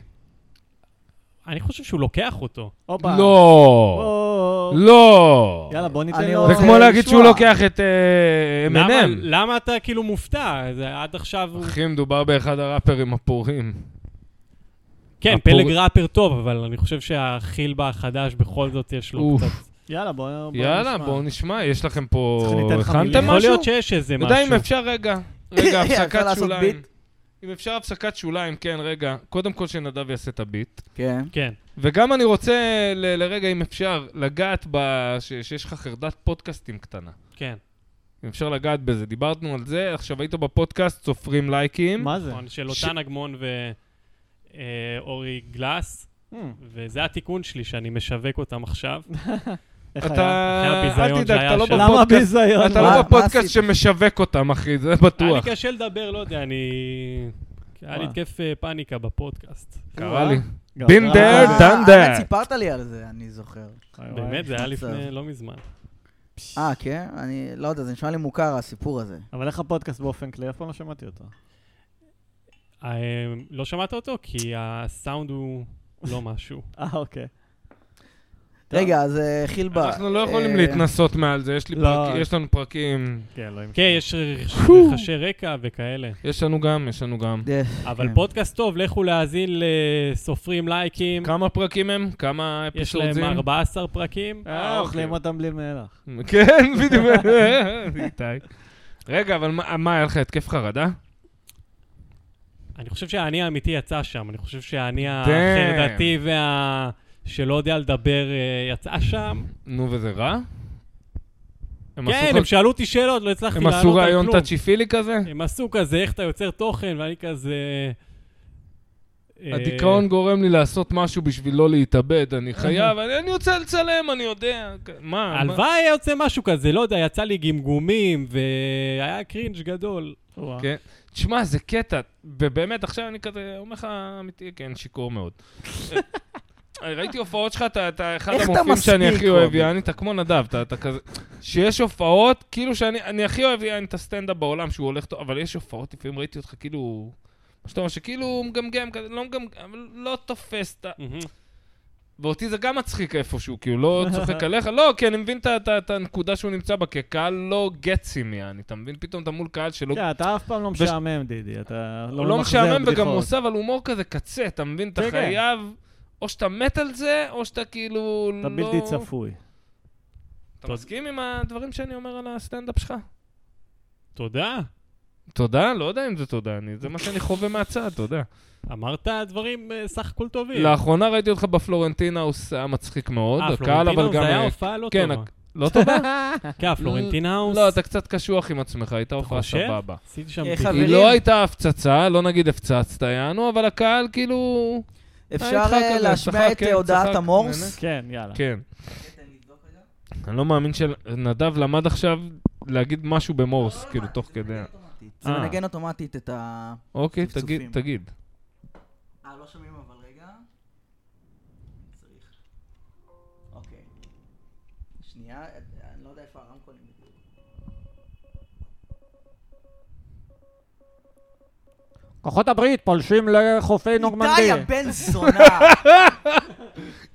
אני חושב שהוא לוקח אותו. הופה. לא. או, לא. יאללה, בוא ניתן אני לו... זה רוצה כמו להגיד שהוא לשמוע. לוקח את אה, למה, M&M. למה אתה כאילו מופתע? זה, עד עכשיו הוא... אחי, מדובר באחד הראפרים הפורים. כן, הפור- פלג ראפר טוב, אבל אני חושב שהחילבה החדש בכל זאת יש לו אוף. קצת... יאללה, בוא בוא נשמע. יאללה, בואו נשמע, יש לכם פה... צריך לתת לך מילים. הכנתם יכול משהו? להיות שיש איזה אתה יודע משהו. אם אפשר, רגע. רגע, אפשר הפסקת לעשות שוליים. ביט? אם אפשר הפסקת שוליים, כן, רגע. קודם כל שנדב יעשה את הביט. כן. כן. וגם אני רוצה ל- לרגע, אם אפשר, לגעת ב... ש- שיש לך חרדת פודקאסטים קטנה. כן, אם אפשר לגעת בזה. דיברנו על זה, עכשיו היית בפודקאסט, סופרים לייקים. מה זה? Mm. נכון, של ש- אותן אגמון ואורי גלאס, אמ, וזה התיקון שלי שאני משווק אותם עכשיו. איך היה? אתה... אחרי אל הביזיון תדאג, שהיה אתה לא שם. למה בפודקאסט... ביזיון? מה- אתה לא מה בפודקאסט עשית? שמשווק אותם, אחי, זה אני בטוח. קשה לדבר, לא יודע, אני... היה לי וואי. התקף אה, פאניקה בפודקאסט. קרה לי. גם- been there, אה, done האמת, that. סיפרת לי על זה, אני זוכר. וואי, וואי. באמת, זה היה מצב. לפני לא מזמן. אה, כן? אני לא יודע, זה נשמע לי מוכר, הסיפור הזה. אבל איך הפודקאסט באופן כללי? אף פעם לא שמעתי אותו. אה, לא שמעת אותו? כי הסאונד הוא לא משהו. אה, אוקיי. טוב. רגע, אז אה, חילבה. אנחנו לא יכולים אה, להתנסות מעל זה, יש לי לא. פרק- יש לנו פרקים... כן, לא עם... כן, יש רחשי רקע וכאלה. יש לנו גם, יש לנו גם. אה, אבל כן. פודקאסט טוב, לכו להאזין לסופרים לייקים. כמה פרקים הם? כמה יש אפיסודזים? להם 14 פרקים. אה, אוכלים אוקיי. אותם בלי מלח. כן, בדיוק. איתי. רגע, אבל מה- מה, היה לך התקף חרדה? אני חושב שהאני האמיתי יצא שם. אני חושב שהאני Damn. החרדתי וה... שלא יודע לדבר אה, יצא שם. נו, וזה רע? הם עשו כן, לך- הם שאלו אותי שאלות, לא הצלחתי הם לענות על עשו כלום. רעיון תצ'יפילי כזה? הם עשו כזה, איך אתה יוצר תוכן, ואני כזה... אה, הדיכאון גורם לי לעשות משהו בשביל לא להתאבד, אני חייב, אני אני רוצה לצלם, אני יודע. מה? מה- הלוואי היה יוצא משהו כזה, לא יודע, יצא לי גמגומים, והיה קרינג' גדול. וואו. כן. תשמע, זה קטע, ובאמת, עכשיו אני כזה אומר לך, אמיתי, כן, שיכור מאוד. אני ראיתי הופעות שלך, אתה- אתה אחד איך אתה המופעים שאני מסמיק, הכי אוהב, רובי? יעני, אתה כמו נדב, אתה אתה כזה... שיש הופעות, כאילו שאני אני הכי אוהב, יעני, את הסטנדאפ בעולם שהוא הולך טוב, אבל יש הופעות, לפעמים ראיתי אותך כאילו... מה שאתה אומר, שכאילו הוא מגמגם, כזה, לא מגמגם, אבל לא תופס את ה... מהמם. ואותי זה גם מצחיק איפשהו, כאילו, לא צוחק עליך, לא, כי אני מבין את ה- את ה- את הנקודה שהוא נמצא בה, כי הקהל לא גטס עם יעני, אתה מבין? פתאום אתה מול קהל שלא כן, אתה אף פעם לא משעמם, דידי. אתה הוא לא ממחזר משעמם וגם בדיחות. הוא עושה, אבל הומור כזה קצה, אתה מבין? אתה כן, כן. חייב, או שאתה מת על זה, או שאתה כאילו אתה לא... בלתי צפוי. אתה מסכים עם הדברים שאני אומר על הסטנדאפ שלך? תודה. תודה? לא יודע אם זה תודה, אני- זה מה שאני חווה מהצד, תודה. אמרת דברים אה, סך הכל טובים. לאחרונה ראיתי אותך בפלורנטינאוס, היה מצחיק מאוד, אה, הקהל לא, אבל פלורנטינאוס גם... זה היה היה- הופעה לא כן, טובה. הק- לא טובה? כן, פלורנטינאוס. לא, אתה קצת קשוח עם עצמך, הייתה הופעה חושב? סבבה. עשית שם אה, פיפי. חברים. היא לא הייתה הפצצה, לא נגיד הפצצת, יענו, אבל הקהל כאילו... אפשר אה, איתך אה, כזה, להשמיע צחק, את כן, אה, הודעת צחק, המורס? כן, יאללה. כן. אני לא מאמין שנדב למד עכשיו להגיד משהו לא, במורס, כאילו, תוך כדי. זה אה. מנגן אוטומטית את ה... אוקיי, צפצופים. תגיד, תגיד. אה, לא שומעים אבל רגע. צריך. אוקיי. שנייה, אני לא יודע איפה הרמקולים בדיוק. כן. כוחות הברית פולשים לחופי נורמנדי. די, הבן זונה!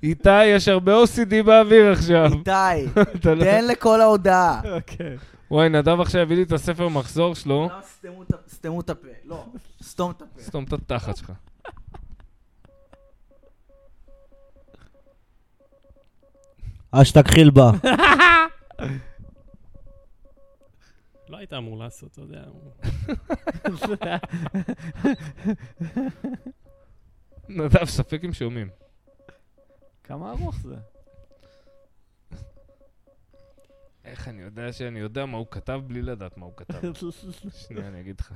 איתי, יש הרבה OCD באוויר עכשיו. איתי, אתה לא- תן לכל ההודעה. אה, אוקיי. וואי, נדב עכשיו הביא לי את הספר מחזור שלו, לא, סתמו את ה- סתמו את הפה. לא, סתום את הפה. סתום את התחת שלך. אז שתכחיל בה. לא היית אמור לעשות, אתה יודע. הוא- נדב, ספק אם שומעים. כמה ארוך זה? איך אני יודע שאני יודע מה הוא כתב בלי לדעת מה הוא כתב? שנייה, אני אגיד לך.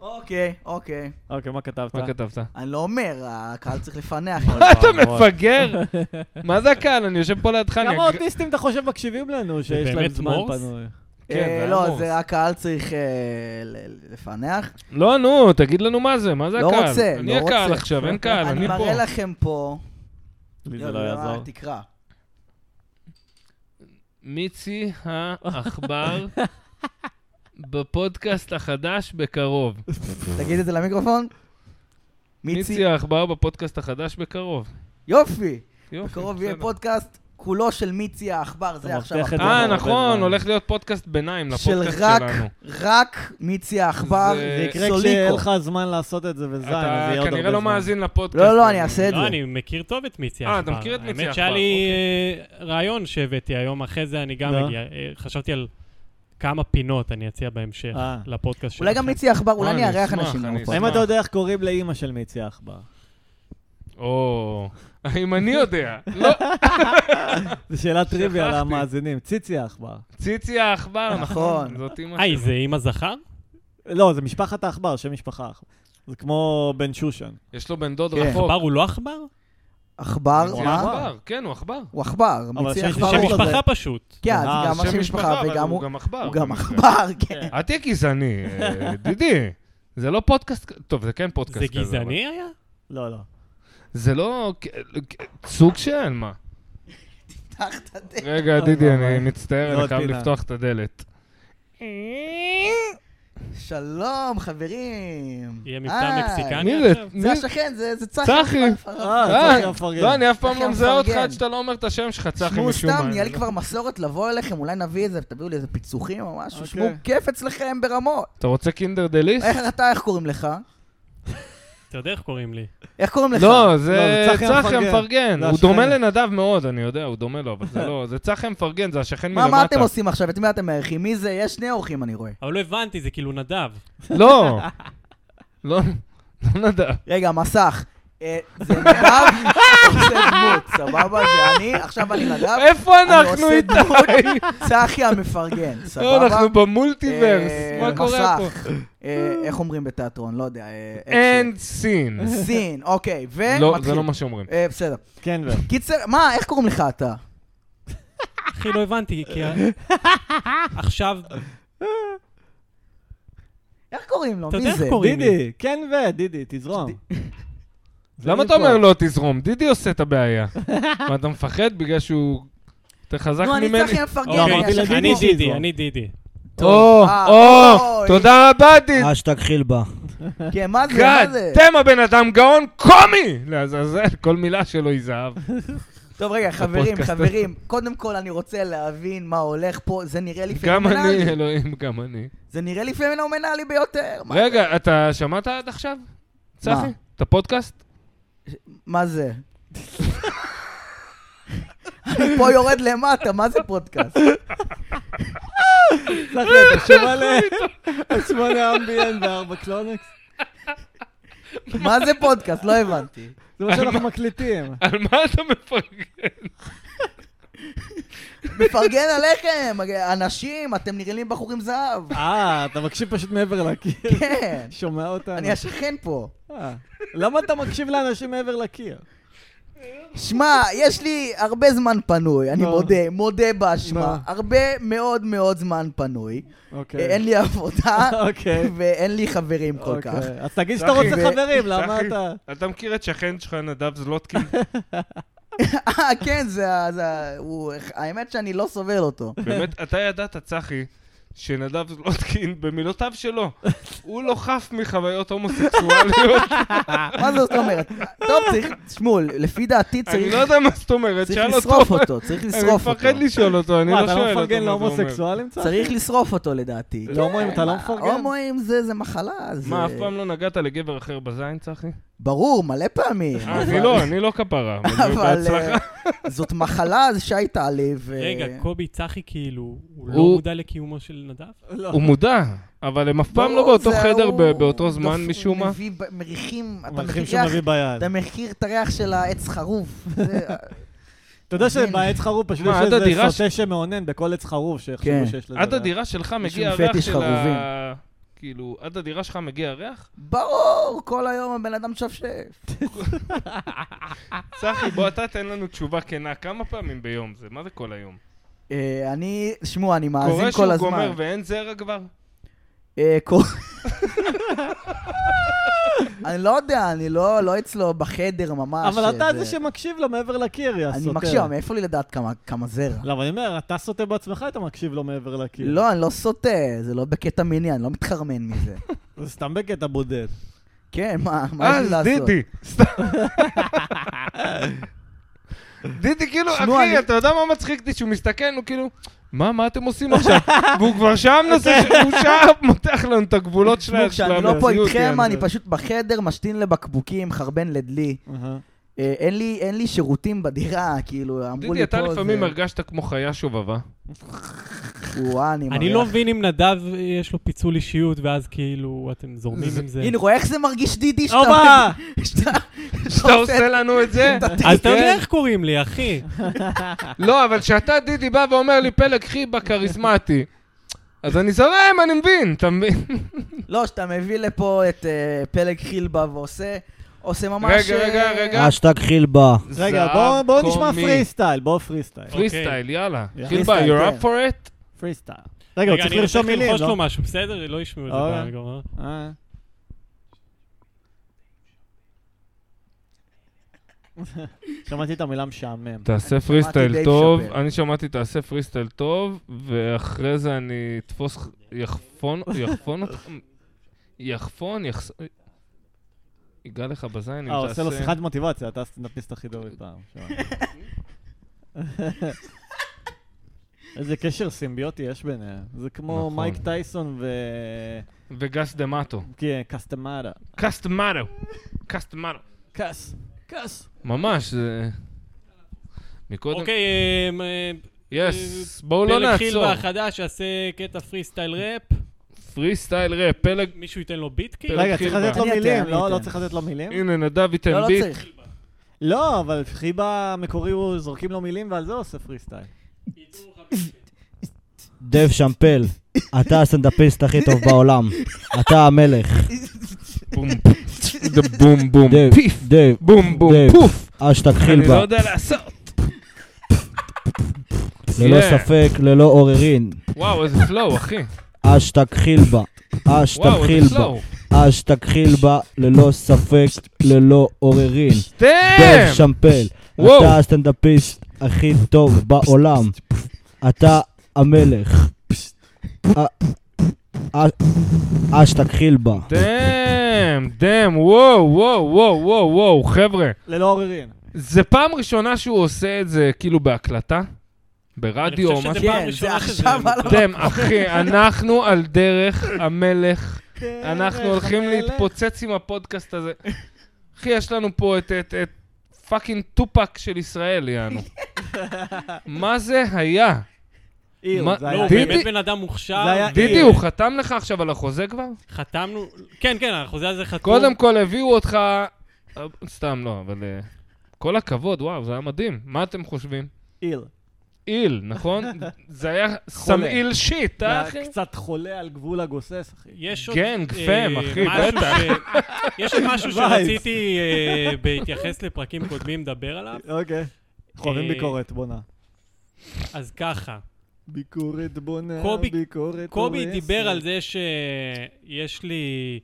אוקיי, אוקיי. אוקיי, מה כתבת? מה כתבת? אני לא אומר, הקהל צריך לפענח. מה אתה מפגר? מה זה הקהל? אני יושב פה לידך, אני... כמה אגר- אוטיסטים אתה חושב מקשיבים לנו, שיש להם באמת זמן מורס? פנוי? כן, אה, זה לא, עמוס. זה הקהל צריך אה, ל- לפענח. לא, נו, תגיד לנו מה זה, מה זה לא הקהל? רוצה, אני לא הקהל רוצה. עכשיו, אין קהל, אני אני פה. מראה לכם פה... לי יואו, זה לא יואו, יעזור. תקרא. מיצי העכבר בפודקאסט החדש בקרוב. תגיד את זה למיקרופון. מיצי. מיצי העכבר בפודקאסט החדש בקרוב. יופי. יופי, בקרוב בסדר. יהיה פודקאסט כולו של מיצי העכבר, אתה זה עכשיו מבטיח את החדש. אה, הרבה נכון, זמן. הולך להיות פודקאסט ביניים של לפודקאסט רק, שלנו. רק מיצי העכבר, זה- זה יקרה כשיהיה סוליקו. לך זמן לעשות את זה בזין, אז אתה יהיה עוד הרבה זמן. כנראה לא מאזין לפודקאסט. לא, לא, אני אעשה את זה. לא, אני מכיר טוב את מיצי אה, עכבר. אתה מכיר את מיצי אוקיי. האמת עכבר, שהיה לי אה, רעיון שהבאתי היום, אחרי זה אני גם נו. אגיע. אה, חשבתי על כמה פינות אני אציע בהמשך אה. לפודקאסט שלכם. אולי גם מיצי עכבר, אה, אולי אני לא אני אארח אשמח, אנשים. אני גם פה. אשמח. האם אתה יודע איך קוראים לאימא של מיצי העכבר? או, האם אני יודע? לא, זו שאלת טריוויה שכחתי. למאזינים. ציצי העכבר. ציצי העכבר, נכון. נכון. זאת אימא אה, היא זה אימא זכר? לא, זה משפחת העכבר, שם משפחה העכבר. זה כמו בן שושן. יש לו בן דוד כן. רחוק. עכבר הוא לא עכבר? עכבר, מיצי מה? עכבר, כן, הוא עכבר. הוא עכבר, אבל מיצי לא שם- זה עכבר שם הוא כזה. משפחה פשוט. כן, אה, זה גם שם השם משפחה, משפחה, אבל וגם הוא הוא גם עכבר. הוא גם במקרה. עכבר, כן. אל תהיה גזעני, אה, ידידי. זה לא פודקאסט, טוב, זה כן פודקאסט זה כזה. אבל- גזעני היה? לא, לא. זה לא... סוג של מה? תחת הדלת. רגע, דידי, אני מצטער, זה אני עוד חייב פינה. לפתוח את הדלת. שלום, חברים. היי. יהיה מבטא מקסיקני מי זה? עכשיו? זה מי- השכן, זה זה צחי. אה, אה, צחי המפרגן. לא, אני אף פעם צחי לא מזהה אותך המפרגן. עד שאתה לא אומר את השם שלך, צחי תשמעו משום מה. סתם, נהיה לי אני כבר מסורת לבוא אליכם, אולי נביא איזה, תביאו לי איזה פיצוחים או משהו, אוקיי. שמעו כיף אצלכם ברמות. לא- אתה רוצה קינדר דה ליסט? איך אתה, איך קוראים לך? אתה יודע איך קוראים לי. איך קוראים לך? לא, זה זה צחי צחי המפרגן. המפרגן. זה הוא דומה השכן. לנדב מאוד, אני יודע, הוא דומה לו, אבל זה לא... זה צחי המפרגן, זה השכן מה, מלמטה. מה אתם עושים עכשיו? את מי אתם מארחים? מי זה? יש שני אורחים, אני רואה. אבל לא הבנתי, זה כאילו נדב. לא. לא, לא נדב. רגע, מסך. אה, זה נדב עושה דמות, סבבה? זה אני, עכשיו אני נדב, איפה אני אנחנו עושה דמות. איתי? צחי המפרגן, לא, סבבה? אנחנו במולטיברס, אה, מה קורה פה? מסך. אה, איך אומרים בתיאטרון? לא יודע. אה, איך אין סין. ש- סין, אוקיי, ומתחיל. לא, זה לא מה שאומרים. אה, בסדר. כן, ו... קיצר, מה, איך קוראים לך אתה? אחי, לא הבנתי, כי ה- עכשיו, איך קוראים לו? אתה מי יודע איך זה? קוראים לי. דידי, כן ו... דידי, תזרום. זה למה לי אתה פה. אומר לא תזרום? דידי עושה את הבעיה. מה, אתה מפחד בגלל שהוא יותר חזק נו, אני ממני? צחי המפרגן. כן, לא, אמרתי יש לה לך, לך דידי אני או דידי, שיזרום? אני דידי. או, אה, או, אוי. תודה רבה, דידי. אז שתכחיל בה. כן, מה זה? מה גאד, זה? תם הבן אדם גאון קומי! לעזאזל, כל מילה שלו היא זהב. טוב, רגע, חברים, בפודקאסט. חברים, קודם כל אני רוצה להבין מה הולך פה, זה נראה לי גם אני, פנומנלי. אלוהים, גם אני. זה נראה לי פנומנלי ביותר. מה- רגע, אתה שמעת עד עכשיו? צחי? את הפודקאסט? מה זה? אני פה יורד למטה, מה זה פודקאסט? צחי, אתה שומע ל- על שמונה אמביאן וארבע קלונקס? מה זה פודקאסט? לא הבנתי. זה מה שאנחנו מקליטים. על מה אתה מפרגן? מפרגן עליכם, אנשים, אתם נראים לי בחורים זהב. אה, אתה מקשיב פשוט מעבר לקיר. כן, שומע אותנו. אני השכן פה. אה, למה אתה מקשיב לאנשים מעבר לקיר? שמע, יש לי הרבה זמן פנוי, אני נו. מודה, מודה באשמה. נו. הרבה מאוד מאוד זמן פנוי. אוקיי. אין לי עבודה, אוקיי. ואין לי חברים כל כך. אוקיי. אז תגיד שאתה רוצה צחי, ו- חברים, למה צחי, אתה... אתה מכיר את שכן שלך, נדב זלוטקין? אה, כן, זה ה... זה ה- הוא- האמת שאני לא סובל אותו. באמת, אתה ידעת, צחי, שנדב זלוטקין, במילותיו שלו, הוא לא חף מחוויות הומוסקסואליות. מה זאת אומרת? טוב, צריך, תשמעו, לפי דעתי אני צריך לא יודע מה זאת אומרת, צריך שאל לשרוף אותו. אותו, צריך אני לשרוף אותו. מפחד לשאול אותו, אני מה, לא אתה שואל לא אותו מה מפרגן זה אומר. להומוסקסואלים צחי? צריך לשרוף אותו לדעתי. להומואים אתה לא מפרגן? הומואים זה זה מחלה, זה... מה, אף פעם לא נגעת לגבר אחר בזין, צחי? ברור, מלא פעמים. אה, אבל- אני לא, אני לא כפרה, אבל אבל בהצלחה. אה, זאת מחלה, זה שי אה, טלי, ו... רגע, קובי צחי כאילו, הוא לא הוא- מודע לקיומו של נדב? לא. הוא מודע, אבל הם אף פעם לא ברור, באותו זה חדר הוא- ב- באותו זמן דופ- משום מה. מביא ב- מריחים, אתה מלכים מריח, שהוא מביא ביד. אתה מכיר את הריח של העץ חרוף. זה- אתה יודע מבין. שבעץ חרוב פשוט מה, יש עד איזה הדירה ש- סוטה שמאונן בכל עץ חרוב כן. שיחשבו שיש לזה. עד ריח. הדירה שלך מגיע פטיש הריח של חרובים. ה... כאילו, עד הדירה שלך מגיע הריח? ברור, כל היום הבן אדם משפשף. צחי, בוא אתה תן לנו תשובה כנה. כמה פעמים ביום זה? מה זה כל היום? אה, אני, שמעו, אני מאזין קורה שהוא כל הזמן. גומר ואין זרע כבר? אה, קור- אני לא יודע, אני לא לא אצלו בחדר ממש. אבל אתה אה, זה שמקשיב לו מעבר לקיר, יא סוטה. אני מקשיב, אבל מאיפה לי לדעת כמה- כמה זרע? לא, אבל אני אומר, אתה סוטה בעצמך, אתה מקשיב לו מעבר כן. לקיר. לא, אני לא סוטה, זה לא בקטע מיני, אני לא מתחרמן מזה. זה סתם בקטע בודד. כן, מה, מה יש לי אז לעשות? אה, דידי. סתם. דידי כאילו, שמעו, אחי, אני- אתה יודע מה מצחיק אותי? שהוא מסתכל, הוא כאילו, מה, מה אתם עושים עכשיו? והוא כבר שם נושא, הוא שם מותח לנו את הגבולות של תשמעו, ה- של כשאני לא פה המציאות, איתכם, כן, אני זה- פשוט בחדר, משתין לבקבוקים, חרבן לדלי. אה, אין לי- אין לי שירותים בדירה, כאילו, אמרו דידי, לי פה... אתה לפעמים זה- הרגשת כמו חיה שובבה. וואה, אני אני לא מריח. מבין אם נדב אה, יש לו פיצול אישיות, ואז כאילו אתם זורמים עם זה. הנה, רואה איך זה מרגיש דידי שאתה... אופה! שאתה- שאתה לא, עושה לנו את זה? אז אתה כן. יודע איך קוראים לי, אחי. לא, אבל כשאתה, דידי, בא ואומר לי, פלג חיבה כריזמטי. אז אני זורם, אני מבין, אתה מבין? לא, שאתה מביא לפה את אה, פלג חילבה ועושה... עושה ממש... רגע, רגע, אה, רגע. אשטג חילבה. רגע, זהב בואו- בואו נשמע קומי. פרי סטייל, בואו פרי סטייל. פרי סטייל, יאללה. יאללה. חילבה, פרי you're סטייל, up for it? פרי סטייל. רגע, הוא צריך לרשום רגע, אני מילים, צריך ללחוש לא? לו משהו, בסדר? לא ישמעו את אוקיי. זה. בגמר. אה. שמעתי את המילה משעמם. תעשה דייב פריסטייל טוב, שאפל. אני שמעתי תעשה פריסטייל טוב, ואחרי זה אני אתפוס, יחפון, יחפון אותך, יחפון, יחס... ייגע לך בזין, אם אה, הוא תעשה... עושה לו שיחת מוטיבציה, אתה הסטנדאפיסט הכי טוב אי פעם. שמע. איזה קשר סימביוטי יש ביניהם. זה כמו נכון. מייק טייסון ו... וגס דה מטו. כן, קסטמאדה. קסטמטו. קסטמטו. קס, קס. ממש, זה... מקודם... אוקיי, אמ, אה, יס, בואו לא פלג נעצור. חילבה החדש יעשה קטע פרי סטייל ראפ, פריסטייל ראפ, פלג... מישהו ייתן לו ביט כאילו? רגע, חיבה. צריך לתת לו אני אתן, מילים, אני לא? אתן. לא צריך לתת לו מילים? הנה, נדב לא, ייתן לא ביט. צריך. לא, אבל חיבה המקורי הוא זורקים לו מילים ועל זה הוא עושה פרי סטייל. דב שמפל, אתה הסטנדאפיסט הכי טוב בעולם. אתה המלך. בום, דה בום, בום, דב, פיף, דב, בום, בום, דב. פוף. אשטג אני לא חילבה. יודע לעשות. ללא Yeah. ספק, ללא עוררין. וואו, איזה פלואו, אחי. אשטג חילבה. אשטג וואו, איזה חילבה. פלואו. אשטג חילבה, ללא ספק, ללא עוררין. דב סטאם! שמפל, כן. וואו. אתה הסטנדאפיסט הכי טוב בעולם. אתה המלך. אה, אה, אשטג חילבה. דאם, דאם, וואו, וואו, וואו, וואו, וואו, חבר'ה. ללא עוררין. זה פעם ראשונה שהוא עושה את זה כאילו בהקלטה? אני ברדיו או חושב משהו? שזה כן, פעם זה ראשונה שזה... עכשיו על ה- אתם, אחי, אנחנו על דרך המלך. כן, אנחנו הולכים המלך. להתפוצץ עם הפודקאסט הזה. אחי, יש לנו פה את- את את פאקינג טופק של ישראל, יענו. מה זה היה? עיר, מה- זה לא, היה הוא עיר. דידי- באמת בן אדם מוכשר. זה היה- דידי, הוא חתם לך עכשיו על החוזה כבר? חתמנו... כן, כן, החוזה הזה חתום. קודם כל הביאו אותך... אה, סתם, לא, אבל... אה, כל הכבוד, וואו, זה היה מדהים. מה אתם חושבים? עיר. איל, נכון? זה היה סמעיל שיט, זה אה, היה אחי? קצת חולה על גבול הגוסס, אחי. יש עוד... כן, אה, גפם, אחי, משהו בטח. ש- יש עוד משהו וייס. שרציתי אה, בהתייחס לפרקים קודמים לדבר עליו, אוקיי. אנחנו אוהבים אה, ביקורת בונה. אז ככה. ביקורת בונה, קובי- ביקורת... קובי הורסת. אה. דיבר על זה שיש לי...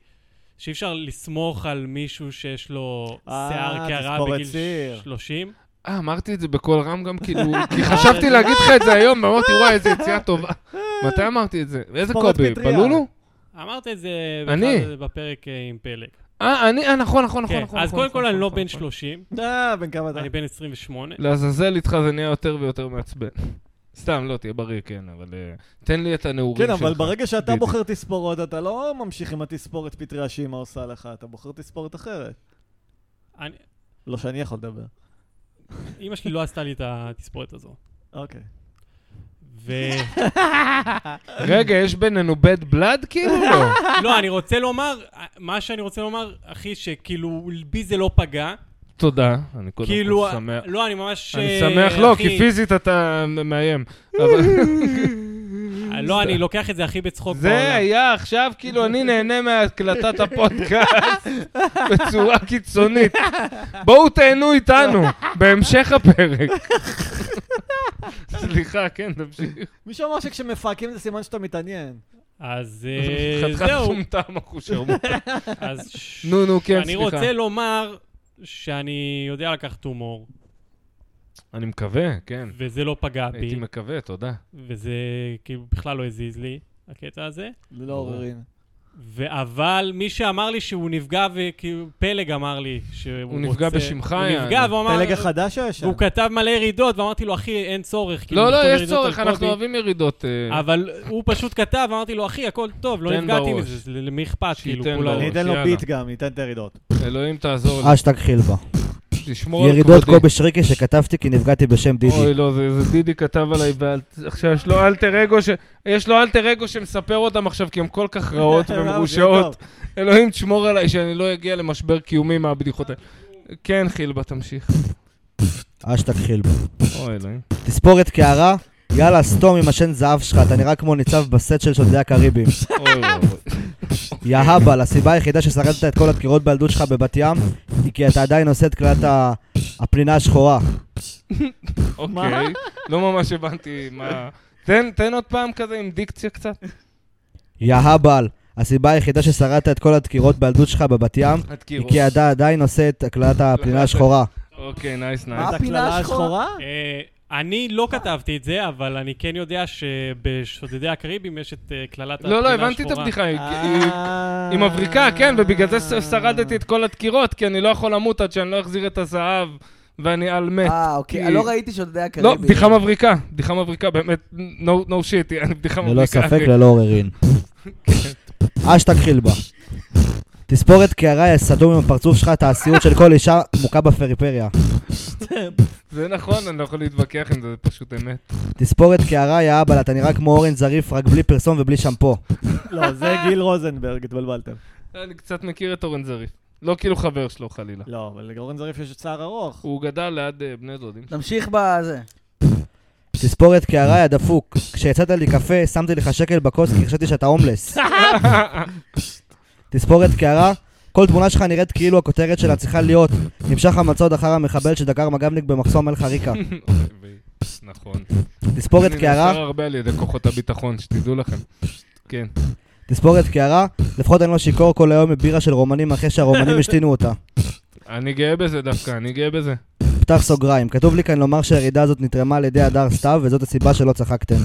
שאי אפשר לסמוך על מישהו שיש לו אה, שיער קערה תספורת בגיל צעיר. 30. אה, אמרתי את זה בקול רם גם, כאילו... כי חשבתי להגיד לך את זה היום, ואמרתי, וואי, איזה יציאה טובה. מתי אמרתי את זה? איזה ספורת קובי? פטריה. בלולו? אמרת את זה אני? בכלל בפרק אה, עם פלג. אה, אני, אה, נכון, נכון, נכון, כן, נכון. אז נכון, קודם כל נכון, אני לא נכון, בן נכון. 30, אה, בן כמה אתה? אני בן 28. לעזאזל איתך זה נהיה יותר ויותר מעצבן. סתם, לא, תהיה בריא, כן, אבל... אה, תן לי את הנעורים כן, שלך. אבל ברגע שאתה בדיוק. בוחר תספורות, אתה לא ממשיך עם התספורת פטריה שאימא עושה לך, אתה בוחר תספורת אחרת. אני- לא שאני יכול לדבר. אימא שלי לא עשתה לי את התספורת הזו. אוקיי. ולא, רגע, יש בינינו בד בלאד כאילו? לא. אני רוצה לומר, מה שאני רוצה לומר, אחי, שכאילו בי זה לא פגע. תודה, אני קודם כאילו, כל שמח. לא, אני ממש... אני אה, שמח, לא, אחי, כי פיזית אתה מאיים. אבל- לא, אני לוקח את זה הכי בצחוק זה בעולם. היה עכשיו, כאילו, אני נהנה מהקלטת הפודקאסט בצורה קיצונית. בואו תהנו איתנו בהמשך הפרק. סליחה, כן, תמשיך. מישהו אמר שכשמפהקים זה סימן שאתה מתעניין. אז אה, חתיכת זהו, מטומטם, אחושרמוט. אז... ש- נו, נו, כן, אני סליחה. רוצה לומר שאני יודע לקחת הומור, אני מקווה, כן. וזה לא פגע בי, הייתי מקווה, תודה. וזה כאילו בכלל לא הזיז לי, הקטע הזה. ללא עוררין. אבל מי שאמר לי שהוא נפגע, וכאילו, פלג אמר לי שהוא רוצה... הוא נפגע בשמך, הוא יעני. נפגע, והוא אמר... פלג החדש היה שם. והוא כתב מלא ירידות, ואמרתי לו, אחי, אין צורך. כאילו, לא, לא, לכתוב יש ירידות על צורך, אנחנו קובי." אוהבים ירידות. אה, אבל הוא פשוט כתב, אמרתי לו, אחי, הכל טוב, לא תן נפגעתי בראש. מזה, למי אכפת? כאילו, שייתן כולם... אני אתן לו יאללה. ביט גם, ניתן את הירידות. אלוהים תעזור לי, אשטג חילבה. תשמור על כבודי. אה, ירידות קובי שריקי שכתבתי כי נפגעתי בשם אוי, דידי. לא, זה זה דידי כתב עליי, ועל- עכשיו יש לו אלטר אגו ש... יש לו אלטר אגו שמספר אותם עכשיו כי הן כל כך רעות וואו, אה, זה יהיה ומרושעות. טוב. אלוהים תשמור עליי שאני לא אגיע למשבר קיומי מהבדיחות האלה. כן, חילבה, תמשיך. אשטג חילבה. אוי, אלוהים. תספורת קערה, יאללה, סתום עם השן זהב שלך, אתה נראה כמו ניצב בסט של שודדי הקריבים. אוי, ואבוי. יא הבל, הסיבה היחידה ששרדת את כל הדקירות בילדות שלך בבת ים, היא כי אתה עדיין עושה את קללת ה- הפנינה השחורה. אוקיי. לא ממש הבנתי מה... תן, תן עוד פעם כזה עם דיקציה קצת. יא הבל, הסיבה היחידה ששרדת את כל הדקירות בילדות שלך בבת ים, היא הדקירות. כי אתה עדיין עושה את קללת הפנינה השחורה. אוקיי, נייס, מה? נייס. את אה, הפינה הקללה השחורה? השחורה? אה, אני לא כתבתי את זה, אבל אני כן יודע שבשודדי הקריבים יש את אה, קללת לא, לא, הפנינה הבנתי את השחורה. הבדיחה. היא- היא- אה. היא מבריקה, כן, ובגלל זה ש- שרדתי את כל הדקירות, כי אני לא יכול למות עד שאני לא אחזיר את הזהב ואני על מת. אה, אוקיי, כי- לא ראיתי שודדי הקריבי. לא, בדיחה מבריקה, בדיחה מבריקה, באמת, no no shit, יעני, בדיחה מבריקה. ללא ספק, לא- אני- ללא עוררין. אשטג חילבה. תספורת קערה, יא סתום עם הפרצוף שלך, את הסיוט של כל אישה מוכה בפריפריה. זה נכון, אני לא יכול להתווכח עם זה, זה פשוט אמת. תספורת קערה, יא אבל, אתה נראה כמו אורן זריף, רק בלי פרסום ובלי שמפו. לא, זה גיל רוזנברג, התבלבלתם. אני קצת מכיר את אורן זריף. לא כאילו חבר שלו, חלילה. לא, אבל לגורן זריף יש צער ארוך. הוא גדל ליד אה, בני דודים. נמשיך בזה. תספורת קערה, יא דפוק. כשיצאת לי קפה, שמתי לך שקל בכוס כי חשבתי שאתה הומלס. תספורת קערה, כל תמונה שלך נראית כאילו הכותרת שלה צריכה להיות נמשך המצוד אחר המחבל שדקר מג"בניק במחסום אל חריקה. אוי, נכון. תספורת אני קערה, נשאר הרבה על ידי כוחות הביטחון, שתדעו לכם. כן. תספורת קערה, לפחות אני לא שיכור כל היום מבירה של רומנים אחרי שהרומנים השתינו אותה. אני גאה בזה דווקא, אני גאה בזה. פתח סוגריים, כתוב לי כאן לומר שהירידה הזאת נתרמה על ידי הדר סתיו וזאת הסיבה שלא צחקתם.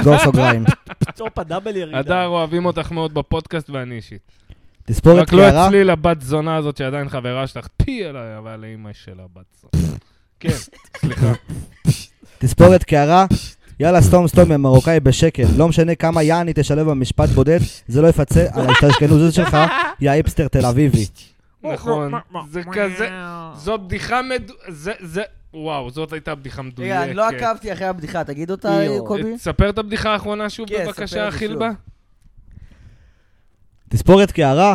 סגור סוגריים. צ'ופה דאבל ירידה. הדר, אוהבים אותך מאוד בפודקאסט ואני אישית. תספורת רק לא קערה, אצלי לבת זונה הזאת שעדיין חברה שלך, פי אליי, אבל לאימא שלה בת זונה. כן, סליחה. תספורת קערה, יאללה סתום סתום יא מרוקאי בשקל. לא משנה כמה יעני תשלב במשפט בודד, זה לא יפצה על ההשתשכנות שלך, יא היפסטר תל אביבי. נכון, זה כזה, זו בדיחה מדו... זה, זה, וואו, זאת הייתה בדיחה מדויקת. רגע, אני לא עקבתי אחרי הבדיחה, תגיד אותה, איו. קובי? תספר את הבדיחה האחרונה שוב כן, ספר בבקשה, את זה חילבה. תספורת קערה,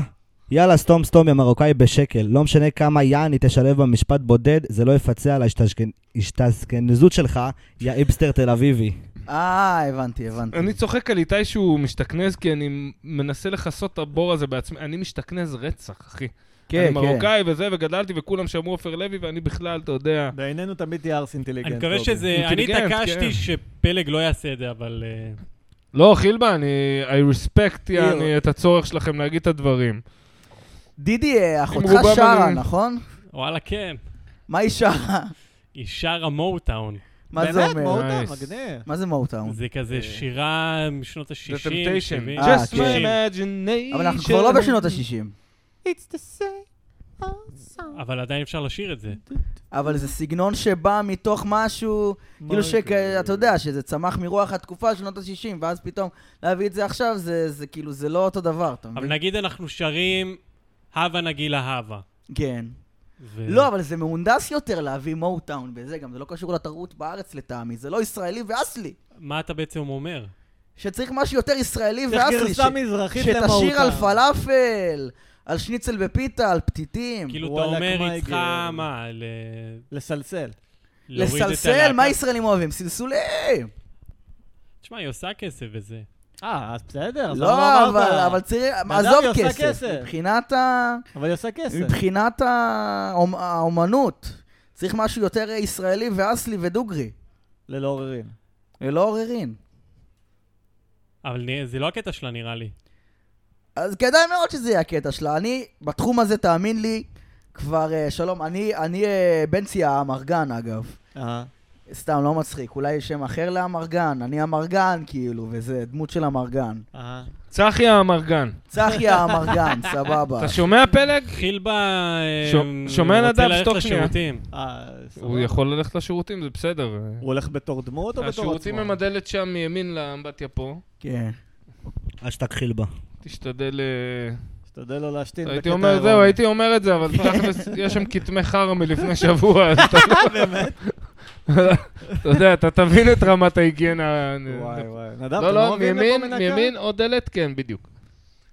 יאללה סתום סתום יא מרוקאי בשקל. לא משנה כמה יעני תשלב במשפט בודד, זה לא יפצה על ההשתשכנות שלך, יא היפסטר תל אביבי. אה, הבנתי, הבנתי. אני צוחק על איתי שהוא משתכנז, כי אני מנסה לכסות את הבור הזה בעצמי. אני משתכנז רצח, אחי. אני כן, כן. מרוקאי וזה, וגדלתי, וכולם שמעו עופר לוי, ואני בכלל, אתה יודע... בעינינו תמיד תהיה ארס אינטליגנט. אני מקווה קובי. שזה... אני אינטליגנט, כן. התעקשתי שפלג לא יעשה את זה, אבל... אה, לא, חילבה, אני... I respect, יעני, את הצורך שלכם להגיד את הדברים. דידי, אה, אחותך רובם שרה, אני- נכון? וואלה, כן. מה היא שרה? היא שרה מוטאון. מה זה באמת, אומר? מהותה, Nice. מגניב. מה זה מוטאון? זה כזה שירה משנות ה-60, The Temptation. 70. אה, Just my כן. imagination. אבל אנחנו כבר לא בשנות ה-60. אבל עדיין אפשר לשיר את זה. אבל זה סגנון שבא מתוך משהו, כאילו שאתה יודע, שזה צמח מרוח התקופה של שנות ה-60, ואז פתאום להביא את זה עכשיו, זה זה כאילו, זה לא אותו דבר, אתה אבל מבין? נגיד אנחנו שרים הווה נגילה הווה. כן. אה. ו- לא, אבל זה מהונדס יותר להביא מוטאון וזה, גם זה לא קשור לתרבות בארץ לטעמי, זה לא ישראלי ואסלי. מה אתה בעצם אומר? שצריך משהו יותר ישראלי צריך ואסלי, גרסה ש- מזרחית למהותה. שתשאיר על פלאפל, על שניצל בפיתה, על פתיתים. כאילו, אתה וואלה, אומר, כמו היא צריכה, העגל. מה, ל- לסלסל. להוריד את לסלסל, הלהקה? מה ישראלים אוהבים? סלסולים! תשמע, היא עושה כסף וזה. אה, אז בסדר, אז לא, אמרת אבל, לה. אבל צריך, בן אדם, עזוב היא עושה כסף, כסף. מבחינת, ה... אבל היא עושה כסף. מבחינת האומ... האומנות, צריך משהו יותר ישראלי ואסלי ודוגרי, ללא עוררין. ללא עוררין. אבל נראה- זה לא הקטע שלה, נראה לי. אז כדאי מאוד שזה יהיה הקטע שלה. אני, בתחום הזה, תאמין לי, כבר, uh, שלום, אני, אני uh, בנצי האמרגן, אגב. אה. סתם, לא מצחיק, אולי יש שם אחר לאמרגן, אני אמרגן, כאילו, וזה דמות של אמרגן. אה. צחי האמרגן, צחי האמרגן, סבבה. אתה שומע פלג? חילבה ש- אה, שומע נדב, רוצה ללכת שתוק שנייה. לשירותים. אה, סבבה. הוא יכול ללכת לשירותים, זה בסדר. הוא הולך בתור דמות או בתור עצמו? השירותים הם הדלת שם מימין לאמבטיה פה. כן. אשתק חילבה. תשתדל... אה, תשתדל לא להשתין. הייתי בקטע אומר, זהו, אירוני. הייתי אומר את זה, אבל תכלס, יש שם כתמי חרא מלפני שבוע, אז אתה... לא- באמת? אתה יודע, אתה תבין את רמת ההיגיינה. וואי וואי. נדב, לא, אתם לא, אוהבים לפה מימין, מנקה? מימין, עוד דלת, כן, בדיוק.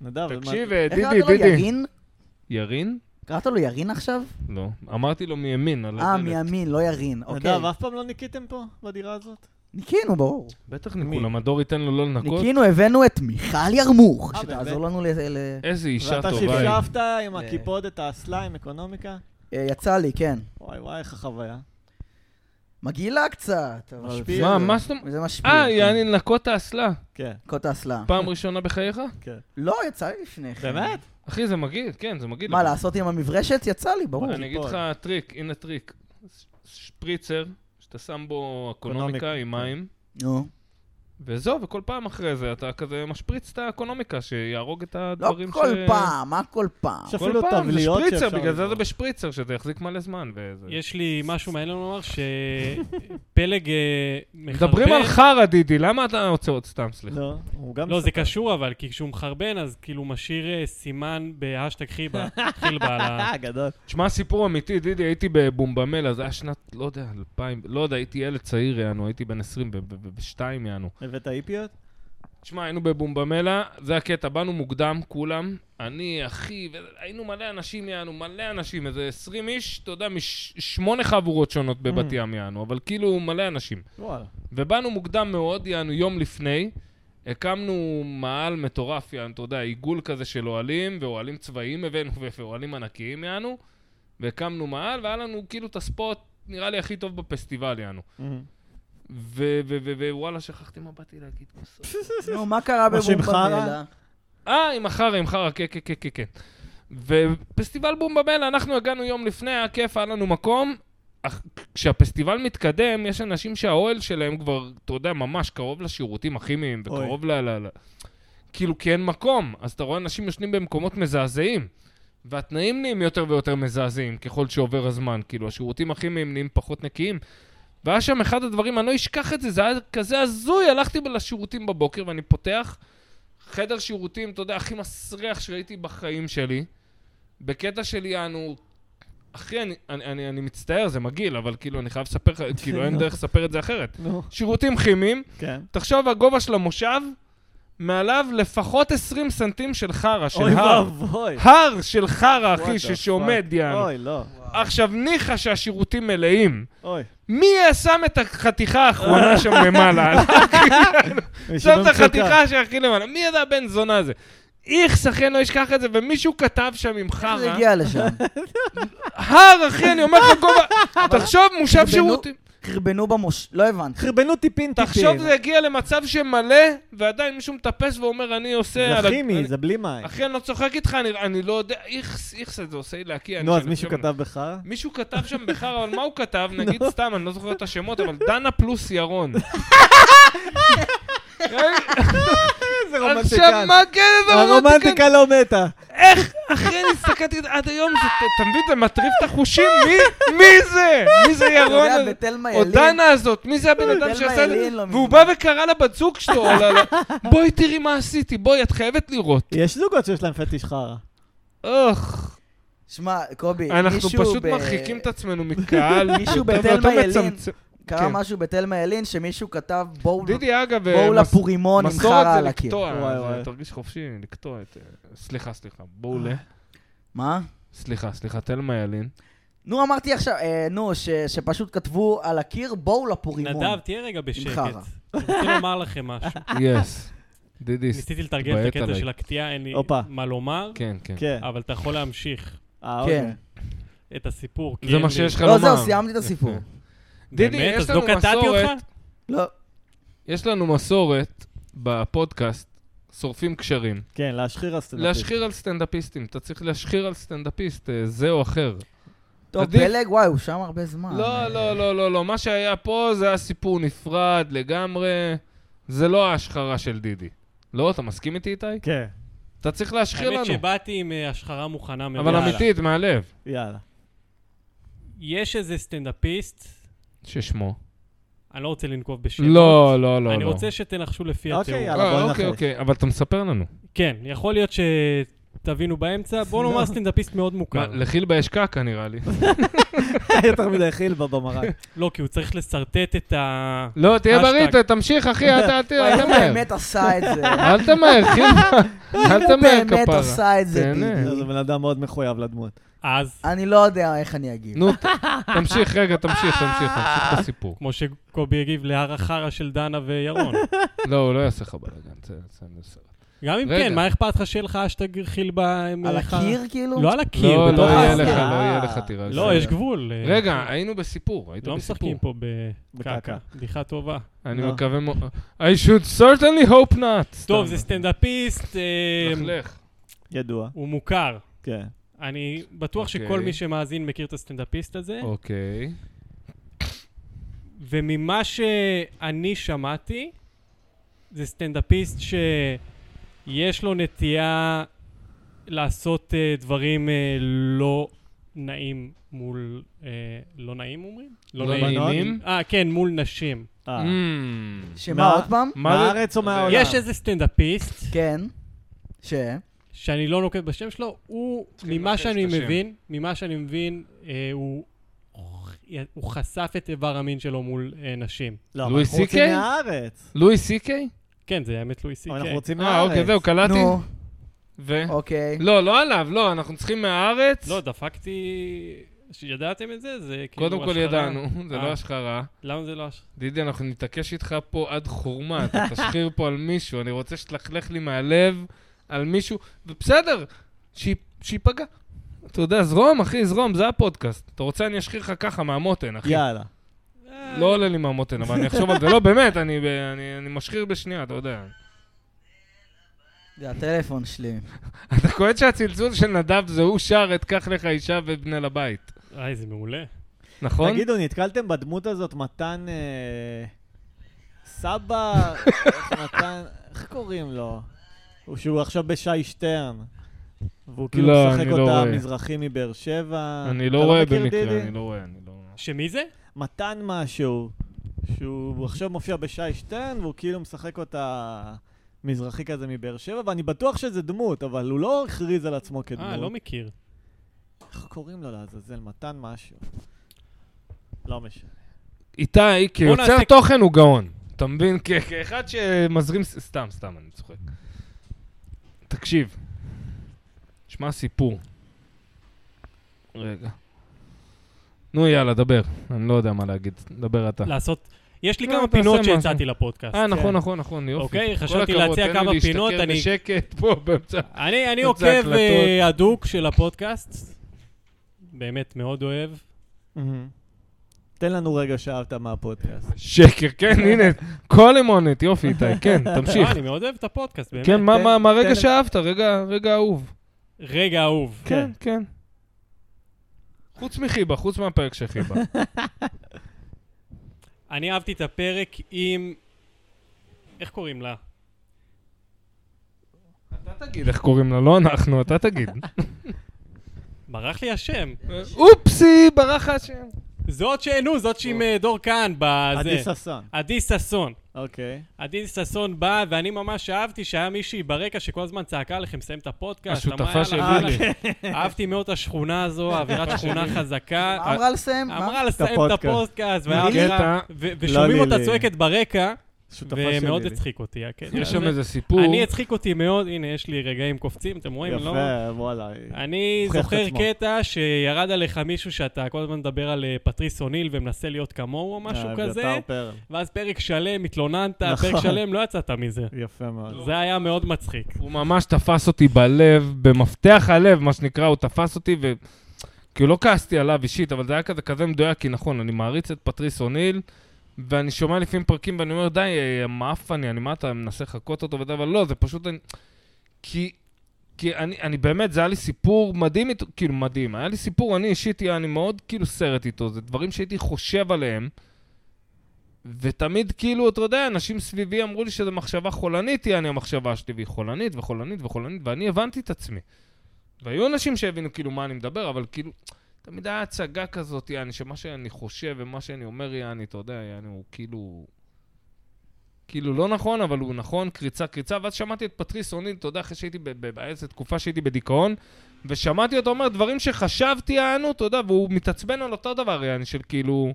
נדב, מה- תקשיב, אה, איך דידי, קראת לו, דידי. ירין? ירין? קראת לו ירין עכשיו? לא. אמרתי לו מימין, על אה, הדלת. מימין, לא ירין, אוקיי. נדב, אף פעם לא ניקיתם פה, בדירה הזאת? ניקינו, ברור. בטח מי? ניקול, המדור ייתן לו לא לנקות. ניקינו, הבאנו את מיכל ירמוך, אה, שתעזור באמת? לנו ל... ל- איזה אישה ואתה טובה היא. שפשפת עם אה. הקיפודת, האסלה, עם אקונומיקה? אה, יצא לי, כן. וואי וואי, איך החוויה. מגעילה קצת, אבל... משפיל. מה, מה זאת אומרת? זה משפיל. אה, כן. יעני לנקות את האסלה. כן, קוט האסלה. פעם ראשונה בחייך? כן. לא, יצא לי לפני כן. באמת? אחי, זה מגעיל, כן, זה מגעיל. מה, לעשות עם המברשת? יצא לי, ברור. אני אגיד לך טריק, הנה טריק. ש- שפריצר, שאתה שם בו אקונומיקה אקונומיקה, עם כן. מים, נו. וזהו, וכל פעם אחרי זה אתה כזה משפריץ את האקונומיקה, שיהרוג את לא הדברים ש... כל פעם, מה כל פעם? יש כל אפילו פעם, זה טבליות שפריצר, שאפשר בגלל זה זה לזרוק. בשפריצר, שזה יחזיק מלא זמן. וזה- יש לי משהו מעניין לומר, שפלג אה, מחרבן... מדברים על חרא, דידי, למה אתה רוצה עוד סתם, סליחה? לא, הוא גם... לא, זה מספר. קשור אבל, כי כשהוא מחרבן, אז כאילו משאיר אה, סימן בהשטג חיבה, חילבה על ה... אה, גדול. תשמע, סיפור אמיתי, דידי, הייתי בבומבמלה, זה היה שנת, לא יודע, 2000, לא יודע, הייתי ילד צעיר, יענו, הייתי בן 22, יענו. הבאת איפיות? תשמע, היינו בבומבמלה, זה הקטע, באנו מוקדם, כולם. אני, אחי, ו- היינו מלא אנשים, יענו, מלא אנשים, איזה 20 איש, אתה יודע, משמונה חבורות שונות בבת Mm. ים, יענו, אבל כאילו מלא אנשים. וואלה. ובאנו מוקדם מאוד, יענו, יום לפני, הקמנו מאהל מטורף, יענו, אתה יודע, עיגול כזה של אוהלים, ואוהלים צבאיים הבאנו, ו- ואוהלים ענקיים, יענו, והקמנו מאהל, והיה לנו כאילו את הספוט, נראה לי, הכי טוב בפסטיבל, יענו. ו- ו- ו- ווואלה, שכחתי מה באתי להגיד בסוף. נו, מה קרה מה שם בבומבמלה? חרא? אה, עם החרא, עם חרא, כן, כן, כן, כן, כן. ופסטיבל בומבמלה, אנחנו הגענו יום לפני, היה כיף, היה לנו מקום. אך- כשהפסטיבל מתקדם, יש אנשים שהאוהל שלהם כבר, אתה יודע, ממש קרוב לשירותים הכימיים, אוי. וקרוב ל... ל, ל... כאילו, כי אין מקום, אז אתה רואה אנשים יושנים במקומות מזעזעים. והתנאים נהיים יותר ויותר מזעזעים ככל שעובר הזמן, כאילו, השירותים הכימיים נהיים פחות נקיים. והיה שם אחד הדברים, אני לא אשכח את זה, זה היה כזה הזוי, הלכתי לשירותים בבוקר ואני פותח חדר שירותים, אתה יודע, הכי מסריח שראיתי בחיים שלי. בקטע של יענו, אחי, אני, אני, אני, אני מצטער, זה מגעיל, אבל כאילו, אני חייב לספר לך, כאילו, אין דרך לספר את זה אחרת. כן, נו, שירותים כימיים, כן. תחשוב, הגובה של המושב, מעליו לפחות 20 סנטים של חרא, של אוי הר. ואבוי. הר של חרא, What אחי, the ש- שעומד, fuck. יענו. אוי, לא. עכשיו, ניחא שהשירותים מלאים. אוי. מי שם את החתיכה האחרונה שם למעלה? שם את החתיכה שהכי למעלה. מי ידע בן זונה הזה? איכס, אחי, אני לא אשכח את זה, ומישהו כתב שם עם איך זה חרא. הגיע לשם? הר, אחי, אני אומר לך, גובה... תחשוב, מושב בנו- שירותים. חרבנו במוש... לא הבנתי. חרבנו טיפין טיפין. תחשוב זה הגיע למצב שמלא, ועדיין מישהו מטפס ואומר, אני עושה... על זה ה- כימי, אני- זה בלי מים. אחי, אני לא צוחק איתך, אני- אני לא יודע, איכס, איכס את זה עושה לי להקיע. נו, אני- אז מישהו אני- כתב בך? מישהו כתב שם בחרא, אבל מה הוא כתב? נגיד סתם, אני לא זוכר את השמות, אבל דנה פלוס ירון. איזה עכשיו, מה כן, איזה רומנטיקן? הרומנטיקה לא מתה. איך? אחי, אני הסתכלתי עד היום, זה- אתה מבין, זה מטריף את החושים? מי- מי זה? מי זה אתה ירון? יודע, בתלמה או ילין... דנה הזאת, מי זה הבן אדם תלמה שעשה את זה? ילין לא והוא בא מזמן. וקרא לבת זוג שלו, או ל- ל- בואי תראי מה עשיתי, בואי, את חייבת לראות. יש זוגות שיש להם פטיש חרא. אוח, שמע, קובי, אנחנו מישהו פשוט ב- מרחיקים את עצמנו מקהל. מישהו יותר בתלמה ויותר ילין. מצמצם. קרה כן. משהו בתלמה ילין שמישהו כתב בואו דידי, אגב, בואו מס- לפורימון עם מסורת חרא זה על הקיר. לקטוע, וואי, אז, וואי. תרגיש חופשי לקטוע את... אה, סליחה, סליחה, בואו אה. ל... מה? סליחה, סליחה, תלמה ילין. נו, אמרתי עכשיו, אה, נו, ש- שפשוט כתבו על הקיר בואו לפורימון. לא, נדב, תהיה רגע בשקט. חרא. אני רוצה לומר לכם משהו. יס. דידי, ס- ניסיתי לתרגם את התבעט הקטע עליי. של הקטיעה, אין לי הופה. מה לומר, כן, כן. כן. אבל אתה יכול להמשיך אה, כן. אוקיי. את הסיפור. כי זה אין מה לי- שיש לך לומר. לא, זהו, סיימתי את הסיפור. יפה. דידי, באמת? יש אז לנו לא קטעתי מסורת. אותך? לא. יש לנו מסורת בפודקאסט, שורפים קשרים. כן, להשחיר הסטנדאפיסט. להשחיר על סטנדאפיסטים. אתה צריך להשחיר על סטנדאפיסט, אה, זה או אחר. טוב, עדיף. פלג, וואי, הוא שם הרבה אה, זמן. אה. לא, לא, לא, לא, לא. מה שהיה פה זה היה סיפור נפרד לגמרי. זה לא ההשחרה של דידי. לא, אתה מסכים איתי, איתי? כן, אתה צריך להשחיר האמת לנו. שבאתי עם אה, השחרה מוכנה מראש. אבל יאללה. אמיתית, מהלב. יאללה. יש איזה סטנדאפיסט, ששמו. אני לא רוצה לנקוב בשמות. לא, לא, לא. אני לא. רוצה שתנחשו לפי אוקיי, התיאור. יאללה, בוא אה, ננחש. אוקיי, אוקיי, אבל אתה מספר לנו. כן, יכול להיות שתבינו באמצע. בוא נאמר סטנדאפיסט מאוד מה, מוכר. לחילבה יש קקה, נראה לי. יותר מדי חיל במרק. לא, כי הוא צריך לשרטט את ה... לא, תהיה האשטג. בריא, ת- תמשיך, אחי, אל ת- אל וואי, אל איך הוא תמהר. באמת עשה את זה. אל תמהר, חילבה. אל הוא לא תמהר, באמת כפרה. עשה את זה, תהנה. לא, דידי. זה בן אדם מאוד מחויב לדמות. אז, אני לא יודע איך אני אגיב. נו, ת- תמשיך, רגע, תמשיך, תמשיך, תמשיך את הסיפור. כמו שקובי הגיב להר החרא של דנה וירון. לא, הוא לא יעשה לך בלאגן, זה- זה בסדר. גם אם רגע. כן, מה אכפת לך שיהיה לך אשטג חילבה עם על חרא? הקיר, כאילו? לא על הקיר, לא, לא בתוך יהיה האסקר. לך, לא אה. יהיה לך, תראה. לא, זה- יש גבול. אה, רגע, היינו בסיפור, היית לא בסיפור. משחקים פה בקעקע. בדיחה טובה. אני לא. מקווה מאוד... I should certainly hope not. סתם. טוב, זה סטנדאפיסט, אה, לכלך. ידוע, הוא מוכר. כן. אני בטוח אוקיי. שכל מי שמאזין מכיר את הסטנדאפיסט הזה, אוקיי. וממה שאני שמעתי, זה סטנדאפיסט שיש לו נטייה לעשות אה, דברים אה, לא נעים מול... אה, לא נעים אומרים? לא נעימים? אה, כן, מול נשים. אה. Mm. שמה, עוד פעם? מה זה- מהארץ או לא, מהעולם? יש איזה סטנדאפיסט, כן. ש? שאני לא נוקט בשם שלו, הוא, צריכים ממה לבקש שאני את השם. מבין, ממה שאני מבין, אה, הוא... הוא חשף את איבר המין שלו מול אה, נשים. לא, אבל לואי אנחנו רוצים סי-קיי? מהארץ. לואי סי-קיי? כן, זה האמת לואי סי אבל אנחנו קיי. רוצים מהארץ. אה, אוקיי, זהו, קלעתי. נו, ו... אוקיי. לא, לא עליו, לא, אנחנו צריכים מהארץ. לא, דפקתי... שידעתם את זה? זה כאילו קודם כל השחרה. ידענו, זה אה. לא השחרה. למה זה לא השחרה? דידי, אנחנו נתעקש איתך פה עד חורמה, אתה תשחיר פה על מישהו, אני רוצה שתלכלך לי מהלב על מישהו, ובסדר, שי- שייפגע. אתה יודע, זרום, אחי, זרום, זה הפודקאסט. אתה רוצה, אני אשחיר לך ככה מהמותן, אחי. יאללה. לא עולה לי מהמותן, אבל אני אחשוב על זה. לא, באמת, אני- אני אני משחיר בשנייה, אתה יודע. זה הטלפון שלי. אה, אתה קולט שהצלצול של נדב זה הוא שר את קח לך אישה ובנה לבית, איי, זה מעולה. נכון? תגידו, נתקלתם בדמות הזאת מתן... אה, סבא... איך מתן... איך קוראים לו? הוא שהוא עכשיו בשי שטרן. והוא כאילו לא, משחק אני לא אותה רואה. מזרחי מבאר שבע. אני אתה לא רואה מכיר, במקרה, דידי? אני לא רואה, אני לא... שמי זה? מתן משהו, שהוא עכשיו מופיע בשי שטרן, והוא כאילו משחק אותה מזרחי כזה מבאר שבע, ואני בטוח שזה דמות, אבל הוא לא הכריז על עצמו כדמות. אה, לא מכיר. איך קוראים לו לעזאזל? מתן משהו. לא משנה. איתי, כיוצר נעשה- תוכן הוא גאון. אתה מבין? כ- כאחד שמזרים... ס- סתם, סתם, אני צוחק. תקשיב. שמע סיפור. רגע. נו, יאללה, דבר. אני לא יודע מה להגיד. דבר אה. אתה. לעשות... יש לי לא, כמה תעשה פינות משהו. שהצעתי לפודקאסט. אה, נכון, כן. נכון, נכון, יופי. אוקיי, כל חשבתי הכבוד, להציע תן לי כמה להשתכר פינות, אני- בשקט פה באמצע. אני אני זה עוקב הקלטות. אה, הדוק של הפודקאסט. באמת מאוד אוהב. תן לנו רגע שאהבת מהפודקאסט. שקר, כן, הנה, כל אמונת, יופי, איתי, כן, תמשיך. לא, אני מאוד אוהב את הפודקאסט, באמת. כן, מה- תן- מה- מה תן- רגע שאהבת? רגע רגע אהוב. רגע אהוב. כן, כן. חוץ מחיבה, חוץ מהפרק של חיבה. אני אהבתי את הפרק עם... איך קוראים לה? אתה תגיד איך קוראים לה, לא אנחנו, אתה תגיד. ברח לי השם. אופסי, ברח השם. זאת ש... נו, זאת שעם אה, דור כהן בזה. לא. עדי ששון, עדי ששון. אוקיי. עדי ששון באה, ואני ממש אהבתי שהיה מישהי ברקע שכל הזמן צעקה לכם, סיים את הפודקאסט. השותפה אמרה, של "יאללה, בילי." אה, כן. אהבתי מאוד את השכונה הזו, אווירת שכונה חזקה. מה אמרה לסיים? מה? אמרה לסיים את הפודקאסט. הפודקאסט, והיה הקטע- אווירה- ו- ושומעים לא, אותה לילי. צועקת ברקע, שותפה שלי. ומאוד לילי. הצחיק אותי. הקטע יש שם הזה. איזה סיפור. אני הצחיק אותי מאוד, הנה, יש לי רגעים קופצים, אתם רואים? לא? יפה, וואלה. אני הוכיח את זוכר עצמו. קטע שירד עליך מישהו שאתה כל הזמן מדבר על אה, פטריס אוניל ומנסה להיות כמוהו או משהו אה, כזה, אביתר פרל. ואז פרק שלם, התלוננת, נכון. פרק שלם, לא יצאת מזה. יפה מאוד. זה היה מאוד מצחיק. הוא ממש תפס אותי בלב, במפתח הלב, מה שנקרא, הוא תפס אותי ו... כאילו לא כעסתי עליו אישית, אבל זה היה כזה כזה מדויק, כי נכון, אני מעריץ את פטריס אוניל, ואני שומע לפעמים פרקים ואני אומר, די, אה, מעפן לי, אני מה אתה מנסה לחקות אותו וזה, אבל לא, זה פשוט... אני... כי... כי אני, אני באמת, זה היה לי סיפור מדהים איתו, כאילו מדהים, היה לי סיפור, אני אישית, אני מאוד כאילו סרט איתו, זה דברים שהייתי חושב עליהם, ותמיד כאילו, אתה יודע, אנשים סביבי אמרו לי שזו מחשבה חולנית, היא אני המחשבה שלי, והיא חולנית וחולנית וחולנית, ואני הבנתי את עצמי. והיו אנשים שהבינו כאילו מה אני מדבר, אבל כאילו, תמיד היה הצגה כזאת, יעני, שמה שאני חושב ומה שאני אומר, יעני, אתה יודע, יעני, הוא כאילו... כאילו לא נכון, אבל הוא נכון, קריצה, קריצה, ואז שמעתי את פטריס אונין, אתה יודע, אחרי שהייתי ב- ב- באיזה תקופה שהייתי בדיכאון, ושמעתי אותו אומר דברים שחשבתי יענו, אתה יודע, והוא מתעצבן על אותו דבר, יעני, של כאילו...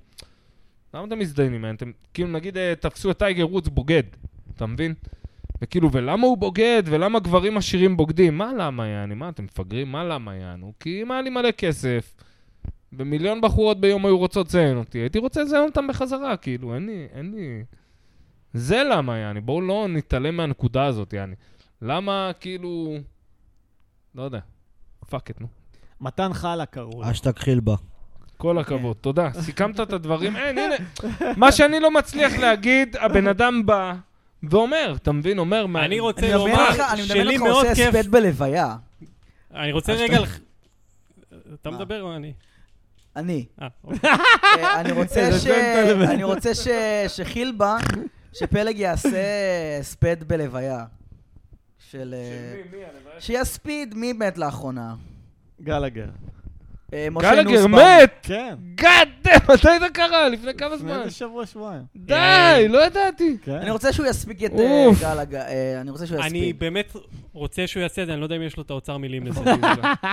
למה אתם מזדיינים? אתם כאילו נגיד אה, תפסו את טייגר וודס בוגד, אתה מבין? וכאילו, ולמה הוא בוגד? ולמה גברים עשירים בוגדים? מה למה יעני? מה אתם מפגרים? מה למה יענו? כי אם היה לי מלא כסף, ומיליון בחורות ביום היו רוצות לזיין אותי, הייתי רוצה לזיין אותם בחזרה, כאילו, אין לי, אין לי... זה למה יעני, בואו לא נתעלם מהנקודה הזאת יעני. למה כאילו... לא יודע. פאק את נו. מתן חלה קראו אה, לו. אשתג חילבה. כן. כל הכבוד, תודה. סיכמת את הדברים, אין, הנה. מה שאני לא מצליח להגיד, הבן אדם בא ואומר, אתה מבין? אומר, מה... אני אני רוצה מדמיין לומר, לך, אני מדמיין שלי לך מאוד עושה כיף... הספד בלוויה. אני רוצה רגע... לח- אתה מדבר או אני? אני. אה, אוקיי. אה, אני רוצה ש... אני רוצה ש... שחילבה, שפלג יעשה הספד בלוויה. של... אה, שיספיד, מי מת לאחרונה? גלגר. אה, משה גלגר נוסבאום. מת! כן. לא גאד דאם, מתי זה קרה? לפני כמה לפני זמן? איזה שבוע שבועיים. אה, די, לא ידעתי. כן. אני רוצה שהוא יספיק את אה, אוף. גלגר. אה, אני רוצה שהוא אני יספיק. באמת רוצה שהוא יעשה את זה, אני לא יודע אם יש לו את האוצר מילים לזה. אתה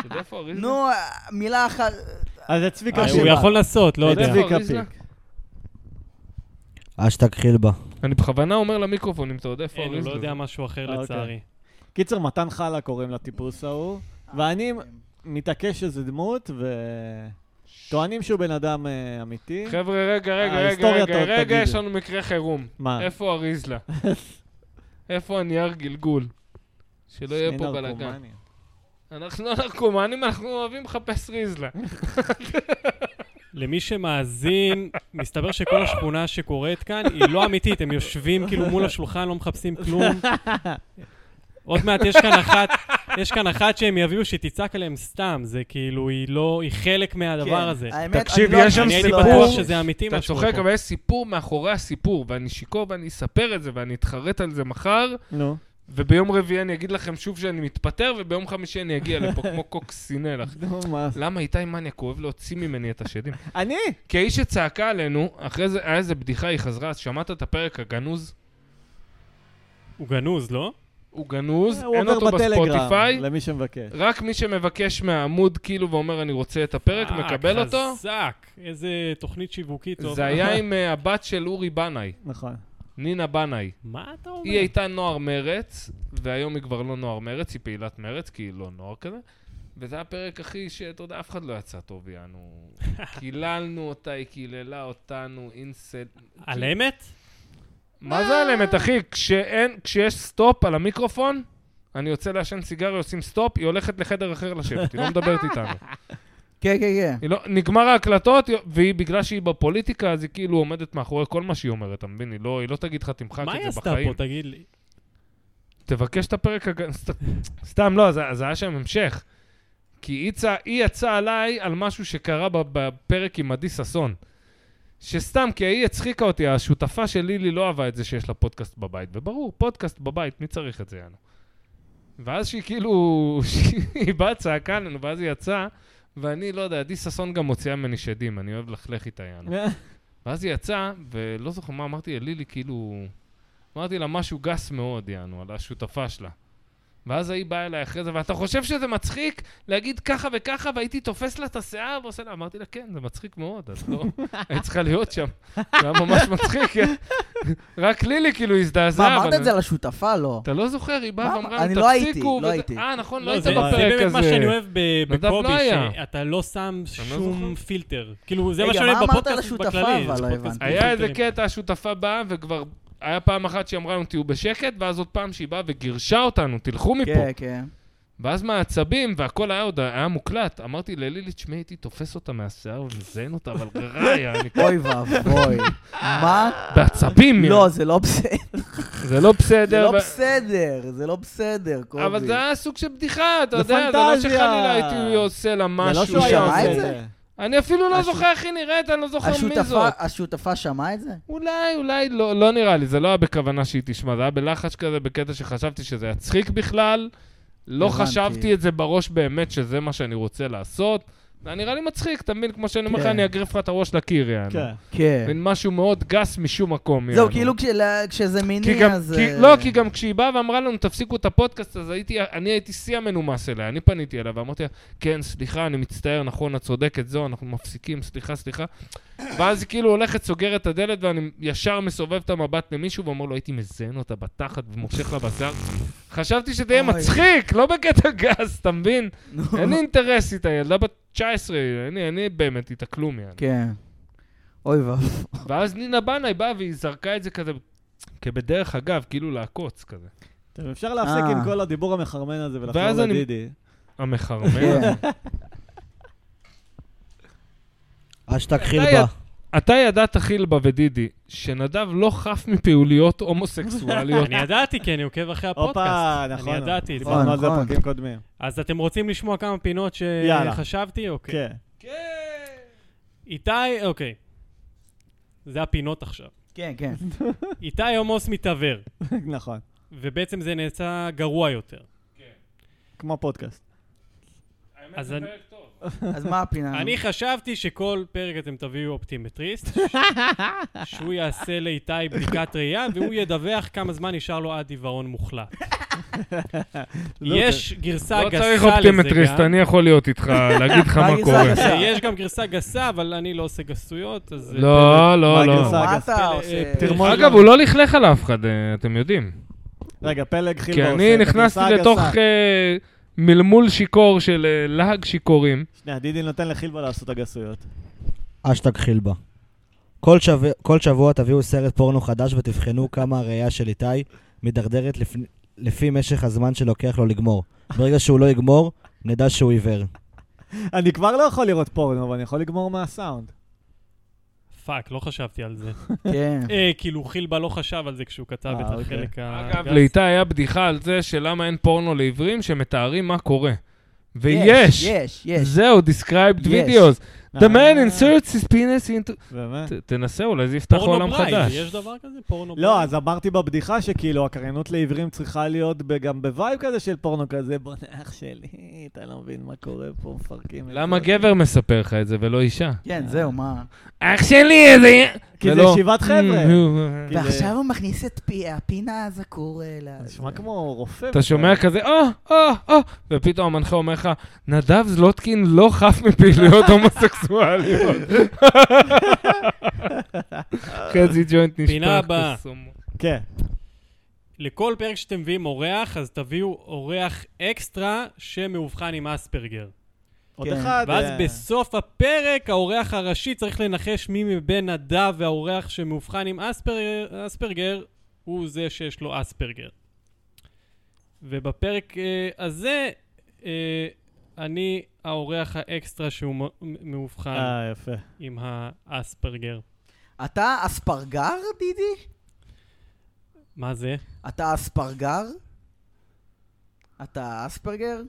יודע איפה אריזלה? נו, אה, מילה אחת. אז זה צביקה אה, הוא פיק. יכול לעשות, לא זה יודע. צביקה אריזלה? פיק. אשתג חילבה. אני בכוונה אומר למיקרופון אם אתה יודע איפה אין, הוא אריזלה. לא יודע משהו אחר אה, לצערי. קיצר, מתן חלה קוראים לטיפוס ההוא, אה, ואני מתעקש שזה דמות, וטוענים שהוא בן אדם אה, אמיתי. חבר'ה, רגע, אה, רגע, רגע, ההיסטוריה רגע, ת- רגע, תגיד. יש לנו מקרה חירום. מה? איפה אריזלה? איפה הנייר גלגול? שלא יהיה פה בלאגן. אנחנו לא נרקומנים, אנחנו אוהבים לחפש ריזלה. למי שמאזין, מסתבר שכל השכונה שקורית כאן היא לא אמיתית, הם יושבים כאילו מול השולחן, לא מחפשים כלום. עוד מעט יש כאן אחת, יש כאן אחת שהם יביאו שתצעק עליהם סתם, זה כאילו, היא לא, היא חלק מהדבר הזה. כן, האמת, תקשיב, אני לא- יש שם אני הייתי סיפור- בטוח שזה אמיתי אתה מה שקורה צוחק, פה. אבל יש סיפור מאחורי הסיפור, ואני שיכור ואני אספר את זה, ואני אתחרט על זה מחר, נו, וביום רביעי אני אגיד לכם שוב שאני מתפטר, וביום חמישי אני אגיע לפה כמו קוקסינל. אחי. נו, מה? למה איתי מניאק אוהב להוציא ממני את השדים? אני? כי האיש שצעקה עלינו, אחרי זה היה איזה בדיחה, היא חזרה, אז שמעת את הפרק הגנוז? הוא גנוז, לא? הוא גנוז, הוא אין עובר אותו בטלגרם, בספוטיפיי, למי שמבקש. רק מי שמבקש מהעמוד כאילו ואומר אני רוצה את הפרק, אה, מקבל אותו. חזק, איזה תוכנית שיווקית טוב. זה היה עם אה, הבת של אורי בנאי, נכון. נינה בנאי. מה אתה אומר? היא הייתה נוער מרץ, והיום היא כבר לא נוער מרץ, היא פעילת מרץ, כי היא לא נוער כזה. וזה היה הפרק, אחי, שאתה יודע, אף אחד לא יצא טוב, יענו. קיללנו אותה, היא קיללה אותנו, אינסל... על אמת? לא! מה זה על אמת, אחי? כשאין, כשיש סטופ על המיקרופון, אני יוצא לעשן סיגריה, עושים סטופ, היא הולכת לחדר אחר לשבת, היא לא מדברת איתנו. כן, כן, כן. היא לא, נגמר ההקלטות, והיא, בגלל שהיא בפוליטיקה, אז היא כאילו עומדת מאחורי כל מה שהיא אומרת, אתה מבין? היא לא, היא לא תגיד לך, תמחק מה היא את זה עשתה בחיים. פה, תגיד לי? תבקש את הפרק הג... סת- סתם, לא, זה, זה היה שם המשך. כי היא, צ... היא יצאה עליי על משהו שקרה ב- בפרק עם עדי ששון. שסתם, כי היא הצחיקה אותי, השותפה של לילי לא אהבה את זה שיש לה פודקאסט בבית. וברור, פודקאסט בבית, מי צריך את זה, יאנו? ואז שהיא כאילו, היא באה, צעקה עלינו, ואז היא יצאה, ואני לא יודע, עדי ששון גם מוציאה ממני שדים, אני אוהב לכלך איתה, יאנו. ואז היא יצאה, ולא זוכר מה אמרתי ללילי, כאילו... אמרתי לה משהו גס מאוד, יענו, על השותפה שלה. ואז היא באה אליי אחרי זה, ואתה חושב שזה מצחיק להגיד ככה וככה, והייתי תופס לה את השיער ועושה לה, אמרתי לה, כן, זה מצחיק מאוד, אז לא, היית צריכה להיות שם. זה היה ממש מצחיק, כן. רק לילי כאילו מה, הזדעזעה. אמרת אבל- את זה לשותפה? לא. אתה לא זוכר, היא מה, באה ואמרה, אני לא הייתי, תפסיקו. לא וזה- הייתי. אה, נכון, לא לא, היית זה זה בפרק הזה. באמת מה שאני אוהב ב- נדב לא בקובי, היה. שאתה לא שם לא שום זוכר. פילטר. כאילו, זה רגע, מה שאני מה אוהב אמרת בפודקאסט לשותפה, בכללי. אבל? זה לא פודקאסט הבנתי. בלי היה איזה פילטרים. קטע, השותפה באה, וכבר... היה פעם אחת שהיא אמרה לנו, תהיו בשקט, ואז עוד פעם שהיא באה וגירשה אותנו, תלכו מפה. כן, כן. ואז מהעצבים, והכל היה עוד, היה מוקלט. אמרתי ללילי, תשמעי, הייתי תופס אותה מהשיער ומזיין אותה, אבל רע היה, אני אוי ואבוי. מה? בעצבים, לא, זה לא בסדר. זה לא זה בסדר. לא ו- בסדר, זה לא בסדר, קובי. אבל זה היה סוג של בדיחה, אתה זה יודע, זה לא פנטזיה. שחלילה הייתי עושה לה לא משהו. לא שהוא היה שמע עושה את את זה? זה. אני אפילו לא הש- זוכר איך היא נראית, אני לא זוכר מי השותפה- זאת. השותפה שמעה את זה? אולי, אולי, לא, לא נראה לי, זה לא היה בכוונה שהיא תשמע, זה היה בלחש כזה, בקטע שחשבתי שזה יצחיק בכלל. לא הבנתי. חשבתי את זה בראש באמת שזה מה שאני רוצה לעשות. זה נראה לי מצחיק, אתה מבין? כמו שאני אומר לך, כן. אני אגריף לך את הראש לקיר, יענו. כן. כן. מין משהו מאוד גס משום מקום. זהו, יענו. כאילו כשל- כשזה כי מיני, גם, אז... כי, אה, לא, כי גם כשהיא באה ואמרה לנו, תפסיקו את הפודקאסט, אז הייתי, אני הייתי שיא המנומס אליה, אני פניתי אליה ואמרתי לה, כן, סליחה, אני מצטער, נכון, את צודקת, זהו, אנחנו מפסיקים, סליחה, סליחה. ואז היא כאילו הולכת, סוגרת את הדלת, ואני ישר מסובב את המבט למישהו ואומר לו, הייתי מזיין אותה בתחת ומושך לה בשיער. חשבתי שזה יהיה אוי. מצחיק, לא בקטע גס, אתה מבין? נו. אין לי אינטרס איתה, ילדה בת 19, אין לי- אין לי באמת איתה כלום, יעני. כן. אוי ואבוי. ואז נינה בנאי באה והיא זרקה את זה כזה, כבדרך אגב, כאילו לעקוץ כזה. טוב, אפשר להפסיק אה. עם כל הדיבור המחרמן הזה ואז ולחזור אני- לדידי. כן. המחרמן. אשתק חילבה. יד- אתה ידעת, חילבה ודידי, שנדב לא חף מפעוליות הומוסקסואליות. אני ידעתי, כי אני עוקב אחרי הפודקאסט. הופה, נכון. אני ידעתי את זה. דיברנו על זה נכון. בפרקים קודמים. אז אתם רוצים לשמוע כמה פינות יאללה. שחשבתי? אוקיי. כן. איתי, אוקיי. זה הפינות עכשיו. כן, כן. איתי עמוס מתעוור, נכון. ובעצם זה נעשה גרוע יותר. כמו פודקאסט. אז זה אני- אז מה הפינה? כן. אני חשבתי שכל פרק אתם תביאו אופטימטריסט, ש- שהוא יעשה לאיתי בדיקת ראייה, והוא ידווח כמה זמן נשאר לו עד עיוורון מוחלט. לא, יש גרסה לא גסה צריך לזה אופטימטריסט, גם. אני יכול להיות איתך, להגיד לך מה מה הגרסה קורה. הגסה? יש גם גרסה גסה, אבל אני לא עושה גסויות, אז... אה, לא, מה לא, לא. הגרסה? מה פלא, אתה אה, עושה? פרק- תרמול. אגב, הוא לא לכלך על אף אחד, אה, אתם יודעים. רגע, פלג חילבה כי עושה. אני את נכנסתי הגרסה לתוך הגסה. אה, מלמול שיכור של אה, להג שיכורים. שנייה, דידי נותן לחילבה לעשות הגסויות. אשתק חילבה. כל שבוע- כל שבוע תביאו סרט פורנו חדש ותבחנו כמה הראייה של איתי מידרדרת לפני- לפי משך הזמן שלוקח לו לגמור. ברגע שהוא לא יגמור, נדע שהוא עיוור. אני כבר לא יכול לראות פורנו, אבל אני יכול לגמור מהסאונד. פאק, לא חשבתי על זה. כן. אה, כאילו חילבה לא חשב על זה כשהוא כתב אה, את אוקיי. החלק ה... אגב, לאיתי היה בדיחה על זה שלמה אין פורנו לעברים שמתארים מה קורה. ויש. יש, יש. זהו, יש. described videos. The man אה, inserts his penis into... באמת? ת- תנסה, אולי זה יפתח עולם פורנו בלייב, חדש. יש דבר כזה? פורנו בלייב? לא, אז אמרתי בבדיחה שכאילו הקריינות לעיוורים צריכה להיות ב- גם בווייב כזה של פורנו כזה, בואנה אח שלי, אתה לא מבין מה קורה פה, מפרקים. את למה זה." גבר מספר לך את זה ולא אישה? כן, זהו, מה? אח שלי, איזה... כי זה ולא- ישיבת חבר'ה. Hmm, כי זה- ועכשיו הוא מכניס את פי- הפינה הזקור אל ה... זה נשמע כמו רופא. אתה שומע כזה, או, או, או, ופתאום המנחה אומר לך, נדב זלוטקין לא חף מפעילויות הומוסקסואליות. חצי ג'וינט נשפך. פינה הבאה. פרסומו. כן. לכל פרק שאתם מביאים אורח, אז תביאו אורח אקסטרה שמאובחן עם אספרגר. עוד כן. אחד. ואז אה, בסוף הפרק, האורח הראשי צריך לנחש מי מבין נדב והאורח שמאובחן עם אספרגר, אספרגר הוא זה שיש לו אספרגר. ובפרק אה, הזה, אה, אני האורח האקסטרה שהוא מ- מ- מאובחן אה, יפה. עם האספרגר. אתה אספרגר, דידי? מה זה? אתה אספרגר? אתה אספרגר?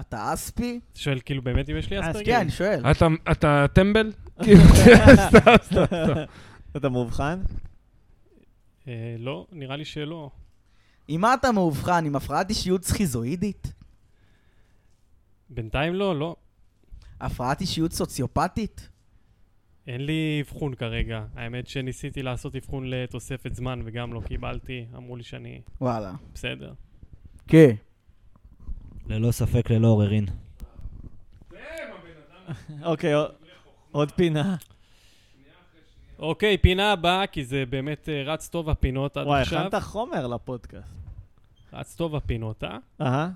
אתה אספי? אתה שואל כאילו באמת אם יש לי אה, אז אספרגר? כן, אני שואל. אתה- אתה טמבל? כאילו, אתה מאובחן? אה, לא, נראה לי שלא. עם מה אתה מאובחן? עם הפרעת אישיות סכיזואידית? בינתיים לא, לא. הפרעת אישיות סוציופטית? אין לי אבחון כרגע. האמת שניסיתי לעשות אבחון לתוספת זמן וגם לא קיבלתי. אמרו לי שאני וואלה. בסדר. כן. ללא ספק, ללא עוררין. אוקיי, עוד- עוד פינה. אוקיי, פינה הבאה, כי זה באמת אה, רץ טוב הפינות עד וואי, עכשיו. הכנת חומר לפודקאסט. רץ טוב הפינות, אה? אהה.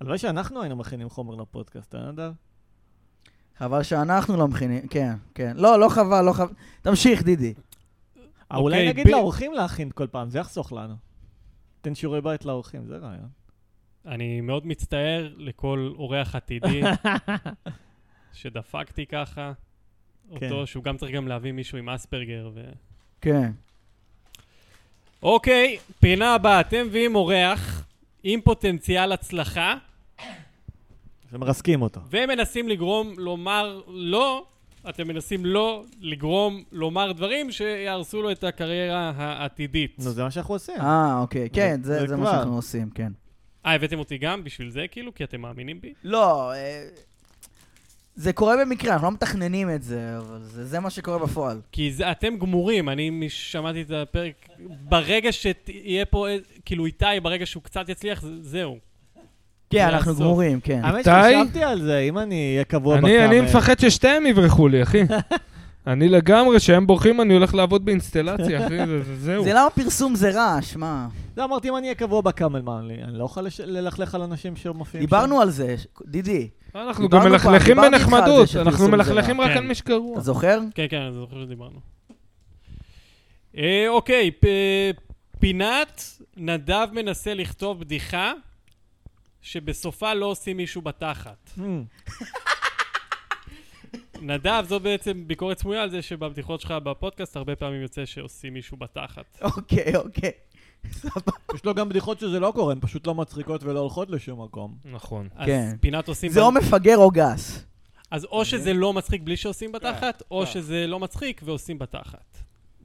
הלוואי שאנחנו היינו מכינים חומר לפודקאסט, אה, נדב? חבל שאנחנו לא מכינים, כן, כן. לא, לא חבל, לא חבל. תמשיך, דידי. אה, אולי אוקיי, נגיד ב- לאורחים להכין כל פעם, זה יחסוך לנו. תן שיעורי בית לאורחים, זה רעיון. אני מאוד מצטער לכל אורח עתידי שדפקתי ככה. כן. אותו, שהוא גם צריך גם להביא מישהו עם אספרגר ו... כן. אוקיי, פינה הבאה, אתם מביאים אורח עם פוטנציאל הצלחה, ומרסקים אותו. ומנסים לגרום לומר לא, אתם מנסים לא לגרום לומר דברים שיהרסו לו את הקריירה העתידית. נו, זה מה שאנחנו עושים. אה, אוקיי. כן, זה- זה זה זה מה כבר. שאנחנו עושים, כן. אה, הבאתם אותי גם בשביל זה, כאילו? כי אתם מאמינים בי? לא, אה, זה קורה במקרה, אנחנו לא מתכננים את זה, אבל זה זה מה שקורה בפועל. כי זה, אתם גמורים, אני מש- שמעתי את הפרק, ברגע שתהיה פה, אה, כאילו איתי, ברגע שהוא קצת יצליח, זה- זהו. כן, זה אנחנו הסוף. גמורים, כן. האמת איתי? שחשבתי על זה, אם אני אהיה קבוע בקאמר. אני אני מפחד ששתיהם יברחו לי, אחי. אני לגמרי, שהם בורחים, אני הולך לעבוד באינסטלציה, אחי, זה- זה- זהו. זה למה פרסום זה רעש, מה? לא, אמרתי, אם אני אהיה קבוע בקאמל, מה, אני אני לא יכול לש- ללכלך על אנשים שמופיעים שם? דיברנו על זה, ש- דידי, לא, אנחנו דיברנו גם פעם, מלכלכים דיברתי איתך על זה בנחמדות, שפרסום אנחנו זה רע. מלכלכים רק כן. על מי שגרוע. אתה זוכר? כן, כן, אני זוכר שדיברנו. אה, אוקיי, פ, פינת נדב מנסה לכתוב בדיחה שבסופה לא עושים מישהו בתחת. Hmm. נדב, זו בעצם ביקורת סמויה על זה שבבדיחות שלך בפודקאסט הרבה פעמים יוצא שעושים מישהו בתחת. אוקיי, אוקיי. סבבה. יש לו גם בדיחות שזה לא קורה, הן פשוט לא מצחיקות ולא הולכות לשום מקום. נכון. אז כן. פינת עושים... זה בת- או מפגר או גס. אז או שזה לא מצחיק בלי שעושים בתחת, או אוקיי. כן. שזה לא מצחיק ועושים בתחת.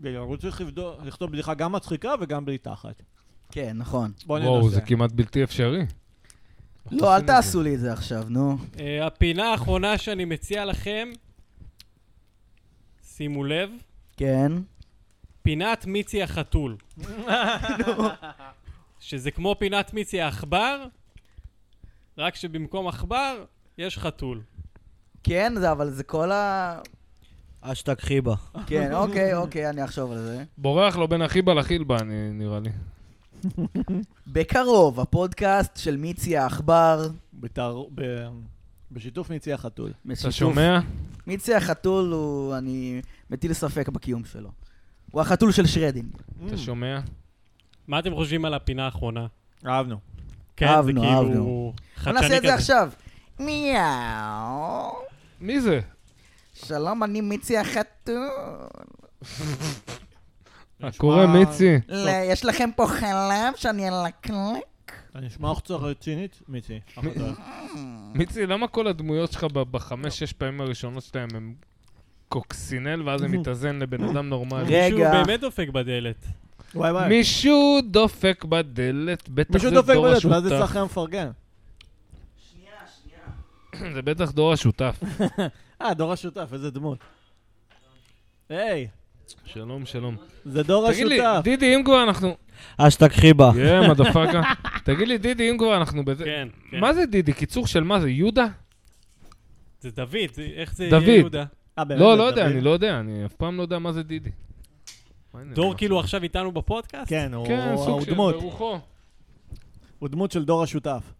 הוא צריך לבדוק- לכתוב בדיחה גם מצחיקה וגם בלי תחת. כן, נכון. בוא וואו, ננסה. זה כמעט בלתי אפשרי. לא, אל תעשו לי את זה עכשיו, נו. אה, הפינה האחרונה שאני מציע לכם, שימו לב, כן. פינת מיצי החתול. שזה כמו פינת מיצי העכבר, רק שבמקום עכבר יש חתול. כן, זה, אבל זה כל ה... אשתג חיבה. כן, אוקיי, אוקיי, אני אחשוב על זה. בורח לו בין החיבה לחילבה, אני- נראה לי. בקרוב, הפודקאסט של מיצי העכבר. בתער- ב- בשיתוף מיצי החתול. אתה בשיתוף- שומע? מיצי החתול הוא, אני מטיל ספק בקיום שלו. הוא החתול של שרדינג. Mm, אתה שומע? מה אתם חושבים על הפינה האחרונה? אהבנו. כן, אהבנו, זה כאילו אהבנו. בוא חדשני נעשה את זה כזה. עכשיו. מיאו. מי זה? שלום, אני מיצי החתול. קורא מיצי. לא, יש לכם פה חלב שאני אלקלק? אתה נשמע הוחצה רצינית, מיצי. החתול. מיצי, למה כל הדמויות שלך ב- בחמש-שש פעמים הראשונות שלהם הם קוקסינל, ואז זה מתאזן לבן אדם נורמלי? רגע. מישהו באמת דופק בדלת. וואי וואי. מישהו דופק בדלת, בטח מישהו זה דופק דור בדלת, ואז זה השותף. צחי המפרגן. זה בטח דור השותף. אה, דור השותף, איזה דמות. היי, שלום, שלום. זה דור תגיד לי, השותף. דידי, אם כבר אנחנו... אשתג חיבה. יא, מדפקה. תגיד לי, דידי, אם כבר אנחנו בזה... כן, כן. מה זה דידי? קיצור של מה זה? יהודה? זה דוד, זה- איך זה דוד. יהיה יהודה? אה, באמת, לא, זה לא יודע, דוד. אני לא יודע, אני אף פעם לא יודע מה זה דידי. דור כאילו עכשיו איתנו בפודקאסט? כן, הוא כן, הוא- סוג הוא של דמות. ברוחו. הוא דמות של דור השותף.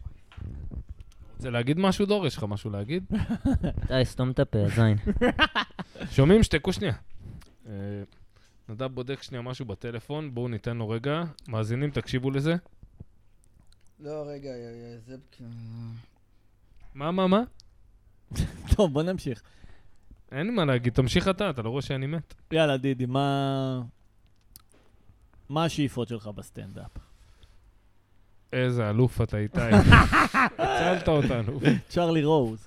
רוצה להגיד משהו, דור? יש לך משהו להגיד? די, סתום את הפה, זין. שומעים? שתקו שנייה. אה, נדב בודק שנייה משהו בטלפון, בואו ניתן לו רגע. מאזינים, תקשיבו לזה. לא, רגע, זה... מה, מה, מה? טוב, בוא נמשיך. אין לי מה להגיד, תמשיך אתה, אתה לא רואה שאני מת. יאללה, דידי, מה... מה השאיפות שלך בסטנדאפ? איזה אלוף אתה איתי. הצלת אותנו. צ'רלי רוז.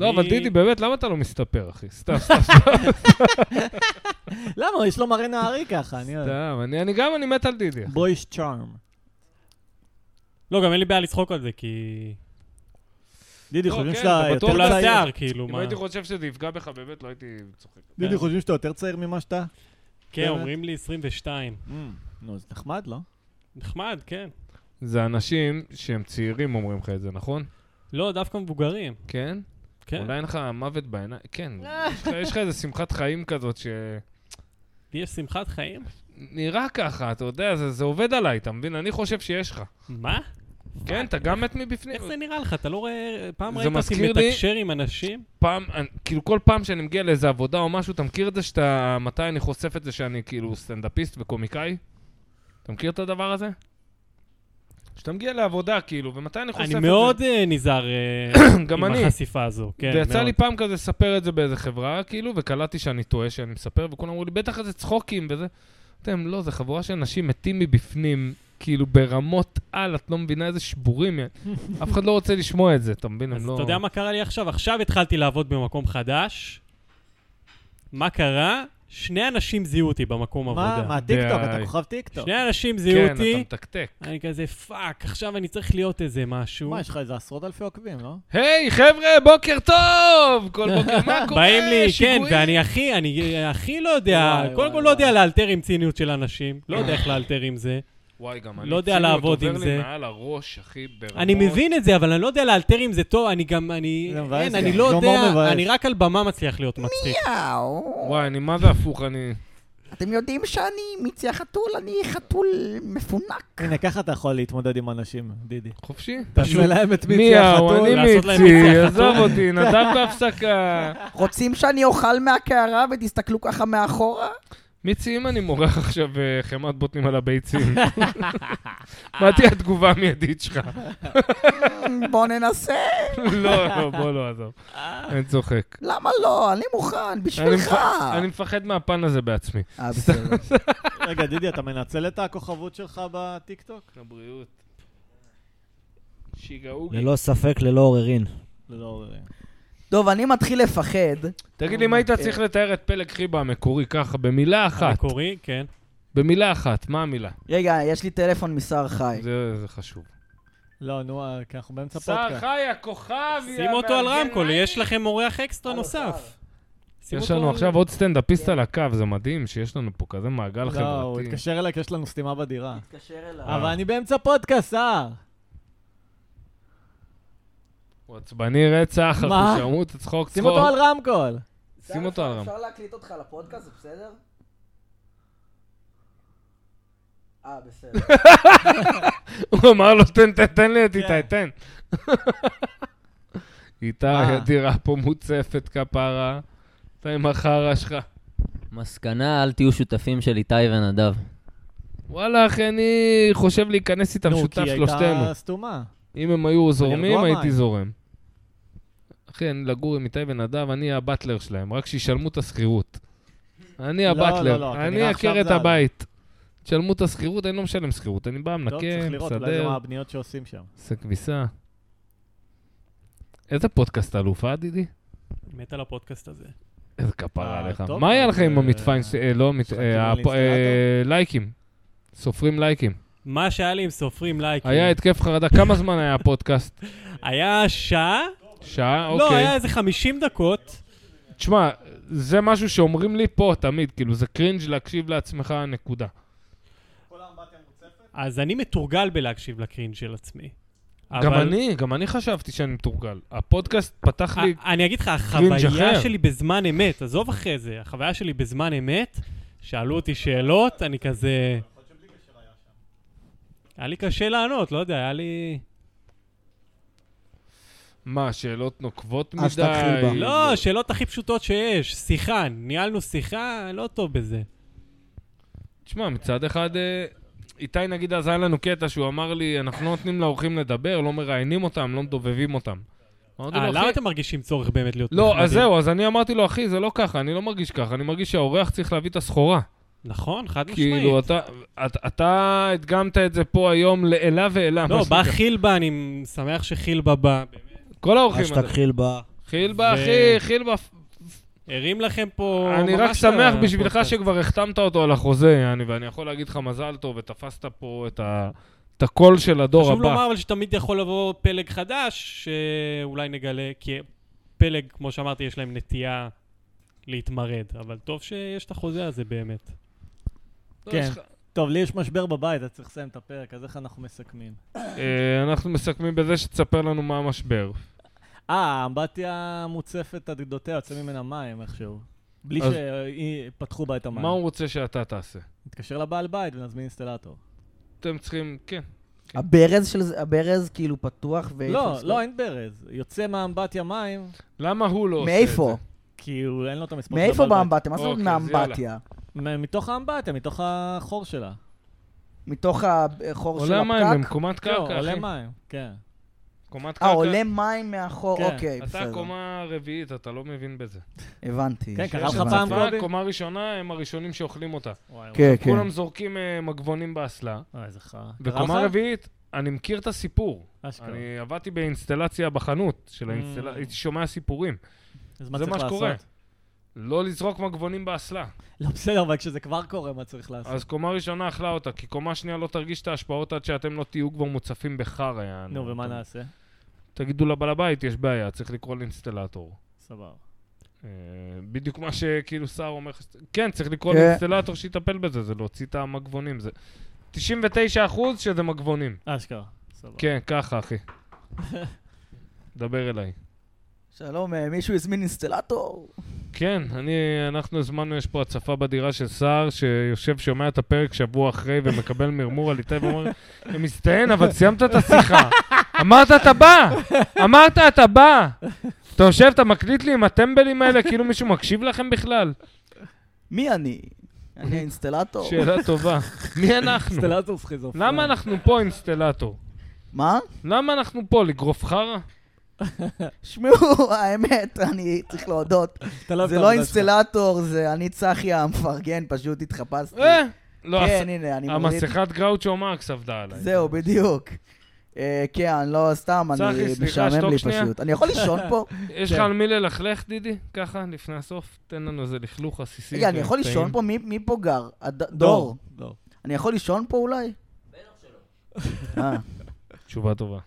לא, אבל אני- דידי, באמת, למה אתה לא מסתפר, אחי? סתם, סתם, למה? יש לו מראה נהרי ככה, אני אוהב. סתם. אני אני גם, אני מת על דידי. אחי. בויש צ'ארם. לא, גם אין לי בעיה לצחוק על זה, כי... דידי, לא, חושבים כן, שאתה אתה יותר בטוח כל לא צעיר. צעיר. השיער, כאילו, אם מה... הייתי חושב שזה יפגע בך באמת, לא הייתי צוחק. דידי, חושבים שאתה יותר צעיר ממה שאתה? כן, אומרים לי 22. Mm, נו, זה נחמד, לא? נחמד, כן. זה אנשים שהם צעירים אומרים לך את זה, נכון? לא, דווקא מבוגרים. כן? כן. לא. אולי אין לך מוות בעיניים, כן. יש לך- יש לך איזה שמחת חיים כזאת ש... לי יש שמחת חיים? נראה ככה, אתה יודע, זה, זה עובד עליי, אתה מבין? אני חושב שיש לך. מה? כן, אתה גם מת מבפנים. איך זה נראה לך? אתה לא רואה... פעם זה ראית אותי מזכיר לי- מתקשר עם אנשים? פעם, אני- כאילו כל פעם שאני מגיע לאיזה עבודה או משהו, אתה מכיר את זה שאתה... מתי אני חושף את זה שאני כאילו סטנדאפיסט וקומיקאי? אתה מכיר את הדבר הזה? שאתה מגיע לעבודה, כאילו, ומתי אני חושף את אני זה? מאוד אה, נזהר אה, גם עם אני. החשיפה הזו. כן, זה יצא מאוד. לי פעם כזה לספר את זה באיזה חברה, כאילו, וקלטתי שאני טועה שאני מספר, וכולם אמרו לי, בטח איזה צחוקים וזה. אתם, לא, זה חבורה של אנשים מתים מבפנים, כאילו, ברמות על, את לא מבינה איזה שבורים. אף אחד לא רוצה לשמוע את זה, אתה מבין? הם אז לא... אתה יודע מה קרה לי עכשיו? עכשיו התחלתי לעבוד במקום חדש. מה קרה? שני אנשים זיהו אותי במקום מה, עבודה. מה, טיקטוק, אתה די. כוכב טיקטוק. שני אנשים זיהו כן, אתה אותי, מתקתק. אני כזה, פאק, עכשיו אני צריך להיות איזה משהו. מה, יש לך איזה עשרות אלפי עוקבים, לא? היי, חבר'ה, בוקר טוב! כל בוקר, מה קורה? באים לי, כן, שיגועים? ואני הכי, אני הכי לא יודע, וואי, קודם וואי, כל לא יודע וואי. לאלתר עם ציניות של אנשים, לא יודע איך לאלתר עם זה. וואי, גם אני... לא יודע ציניות לעבוד עם עובר לי זה. מעל הראש, אחי, ברמות. אני מבין את זה, אבל אני לא יודע לאלתר עם זה טוב, אני גם, אני, זה מבאס אין, גם. אני לא זה הומור יודע, מבאס. אני רק על במה מצליח להיות מצחיק. יאו, וואי, אני מה זה הפוך, אני... אתם יודעים שאני מציע חתול, אני חתול מפונק. הנה, ככה אתה יכול להתמודד עם אנשים, דידי. חופשי? תעשה להם את מיצי מיהו, החתול. אני לעשות להם מיצי, מיצי עזוב אותי, נדב בהפסקה. רוצים שאני אוכל מהקערה ותסתכלו ככה מאחורה? מיצי, אם אני מורח עכשיו אה, חמת בוטנים על הביצים, מה תהיה התגובה המיידית שלך? בוא ננסה. לא, לא, בוא לא, עזוב. אני צוחק. למה לא? אני מוכן, אני בשבילך. מפח- אני מפחד מהפן הזה בעצמי. אה, בסדר. רגע, דידי, אתה מנצל את הכוכבות שלך בטיקטוק? לבריאות. שיגעוגי. ללא ספק, ללא עוררין. לא, טוב, אני מתחיל לפחד. אה, תגיד לי, אם היית צריך לתאר את פלג חיבה המקורי ככה, במילה אחת, המקורי, כן. במילה אחת, מה המילה? רגע, יש לי טלפון משר חי. זה זה חשוב. לא, נו, אה, כי אנחנו באמצע שר פודקאסט. חי, הכוכב, שים אותו על רמקול, יש לכם אורח אקסטרה נוסף. שים יש אותו לנו על- עכשיו עוד סטנדאפיסט על הקו, זה מדהים שיש לנו פה כזה מעגל חברתי. לא, הוא התקשר אליי כי יש לנו סתימה בדירה. תתקשר אליו. אה. אבל אני באמצע פודקאסט, אה! הוא עצבני רצח, מה? אחי, שמעו את הצחוק שים אותו על צחוק. רמקול. שים אותו על רמקול. אפשר להקליט אותך לפודקאסט, זה בסדר? אה, בסדר. הוא אמר לו, תן, תן, תן לי את כן. איתי, תן. איתי, אה. הדירה פה מוצפת כפרה. אתה עם החרא שלך. מסקנה, אל תהיו שותפים של איתי ונדב. וואלה, אחי, אני חושב להיכנס איתם נו, שותף כי היא שלושתנו. הייתה סתומה. אם הם היו זורמים, ירדו הייתי המים. זורם. אחי, אני לגור עם איתי ונדב, אני הבטלר שלהם, רק שישלמו את השכירות. אני לא, הבטלר, לא, לא, כנראה אני עכשיו אכיר את זה עלה. הבית. תשלמו את השכירות, אני לא משלם שכירות, אני בא, טוב, לא, צריך מנקה, לראות, אולי זה מסדר, מהבניות שעושים שם. עושה כביסה. איזה פודקאסט אלוף, אה, דידי? מת על הפודקאסט הזה. איזה כפרה אה, עליך. טוב, מה היה אבל, לך עם אה, המטפיין, ש- אה, לא, המט- יש לך אה, כיוון הפ- לאינסטלטור? אה, לייקים. סופרים לייקים. כן. מה שהיה לי עם סופרים לייקים. היה התקף חרדה, כמה זמן היה הפודקאסט? היה שעה? שעה? אוקיי. לא, היה איזה 50 דקות. תשמע, זה משהו שאומרים לי פה תמיד, כאילו, זה קרינג' להקשיב לעצמך, נקודה. אז אני מתורגל בלהקשיב לקרין של עצמי. גם אבל- אני, גם אני חשבתי שאני מתורגל. הפודקאסט פתח לי... א- אני אגיד לך, אחר. החוויה שלי בזמן אמת, עזוב אחרי זה, החוויה שלי בזמן אמת, שאלו אותי שאלות, אני כזה... היה לי קשה לענות, לא יודע, היה לי... מה, שאלות נוקבות מדי? אז תתחיל בה. לא, שאלות הכי פשוטות שיש, שיחה, ניהלנו שיחה, אני לא טוב בזה. תשמע, מצד אחד... אה, איתי נגיד אז היה לנו קטע שהוא אמר לי, אנחנו לא נותנים לאורחים לדבר, לא מראיינים אותם, לא מדובבים אותם. אמרתי אה, לו, למה "אחי, אתם מרגישים צורך באמת להיות לא, נחמדים? אז זהו, אז אני אמרתי לו, אחי, זה לא ככה, אני לא מרגיש ככה, אני מרגיש שהאורח צריך להביא את הסחורה. נכון, חד משמעית. כאילו, אתה, את- אתה הדגמת את זה פה היום לעילה ועילה. מה לא, בא שנקרא. חילבה, אני שמח שחילבה בא. באמת. כל האורחים. אשתג חילבה. חילבה, ו- אחי, חילבה. הרים לכם פה... אני ממש אה, רק שמח את בשבילך הפודקאסט. שכבר החתמת אותו על החוזה, יעני, ואני יכול להגיד לך מזל טוב, ותפסת פה את ה- את הקול של הדור חשוב הבא. לומר אבל שתמיד יכול לבוא פלג חדש, שאולי נגלה, כי פלג, כמו שאמרתי, יש להם נטייה להתמרד, אבל טוב שיש את החוזה הזה באמת. לא, כן. יש לך- טוב, לי יש משבר בבית, אז צריך לסיים את הפרק, אז איך אנחנו מסכמים? אה, אנחנו מסכמים בזה שתספר לנו מה המשבר. אה, האמבטיה מוצפת עד גדותיה, יוצא ממנה מים איכשהו. בלי אז- שפתחו בה את המים. מה הוא רוצה שאתה תעשה? נתקשר לבעל בית ונזמין אינסטלטור. אתם צריכים, כן. הברז של זה, הברז כאילו פתוח ו... לא, לא, אין ברז. יוצא מהאמבטיה מים, למה הוא לא עושה את זה? מאיפה? כי הוא- אין לו את המספר של מאיפה הבעל בית. באמבטיה? מה זאת אומרת אוקיי, אז יאללה. מאמבטיה? מ- מתוך האמבטיה, מתוך החור שלה. כן, מתוך החור של עולה מים הפקק? במקומת לא, קרקע, עולה אחי. מים, כן. קומת אה, קרקע. עולה מים מהחור, כן. אוקיי, אתה בסדר. קומה רביעית, אתה לא מבין בזה. הבנתי. כן, קרה לך הבנתי. פעם? אתה קובי? קומה ראשונה, הם הראשונים שאוכלים אותה. וואי, כן, כן. כולם זורקים אה, מגבונים באסלה. וואי, אה, איזה חרא. קרה וקומה לך? רביעית, אני מכיר את הסיפור. אשכרה. אני עבדתי באינסטלציה בחנות של כן. Mm. האינסטלציה, הייתי שומע סיפורים. אז מה זה צריך מה שקורה. לעשות? לא לזרוק מגבונים באסלה. לא, בסדר, אבל כשזה כבר קורה, מה צריך לעשות? אז קומה ראשונה אכלה אותה, כי קומה שנייה לא תרגיש את ההשפעות עד שאתם לא תהיו כבר מוצפים בחרא. יענו. נו, ומה טוב. נעשה? תגידו לבעל הבית, יש בעיה, צריך לקרוא לאינסטלטור. סבבה. אה, בדיוק מה שכאילו סער אומר לך, ש- כן, צריך לקרוא כן. לאינסטלטור שיטפל בזה, זה להוציא את המגבונים. זה 99% שזה מגבונים. אשכרה. סבבה. כן, ככה, אחי. דבר אליי. שלום, אה, מישהו הזמין אינסטלטור? כן, אני, אנחנו הזמנו, יש פה הצפה בדירה של סער, שיושב, שומע את הפרק שבוע אחרי ומקבל מרמור על איתי ואומר, "אני מצטיין, אבל סיימת את השיחה. אמרת, אתה בא! אמרת, אתה בא! אתה יושב, אתה מקליט לי עם הטמבלים האלה, כאילו מישהו מקשיב לכם בכלל? מי אני? אני האינסטלטור? שאלה טובה. מי אנחנו? אינסטלטור סכיזופרן. למה אנחנו פה אינסטלטור? מה? למה אנחנו פה, לגרוף חרא? שמעו, האמת, אני צריך להודות. אתה אוהב זה את לא העבודה שלך. אינסטלטור, זה אני צחי המפרגן, פשוט התחפשתי. אה! לא, כן, הנה, אני מוריד. המסכת גראוצ'ו מרקס עבדה עליי. זהו, בדיוק. אה, כן, לא, סתם, אני צחי, סליחה, משעמם שתוק לי שנייה. פשוט. אני יכול לישון פה? יש כן. לך על מי ללכלך, דידי? ככה, לפני הסוף? תן לנו איזה לכלוך עסיסי. רגע, אני כן, יכול טעים. לישון פה? מי- מי פה גר? הד- דור. דור. אני יכול לישון פה אולי? אה, תשובה טובה.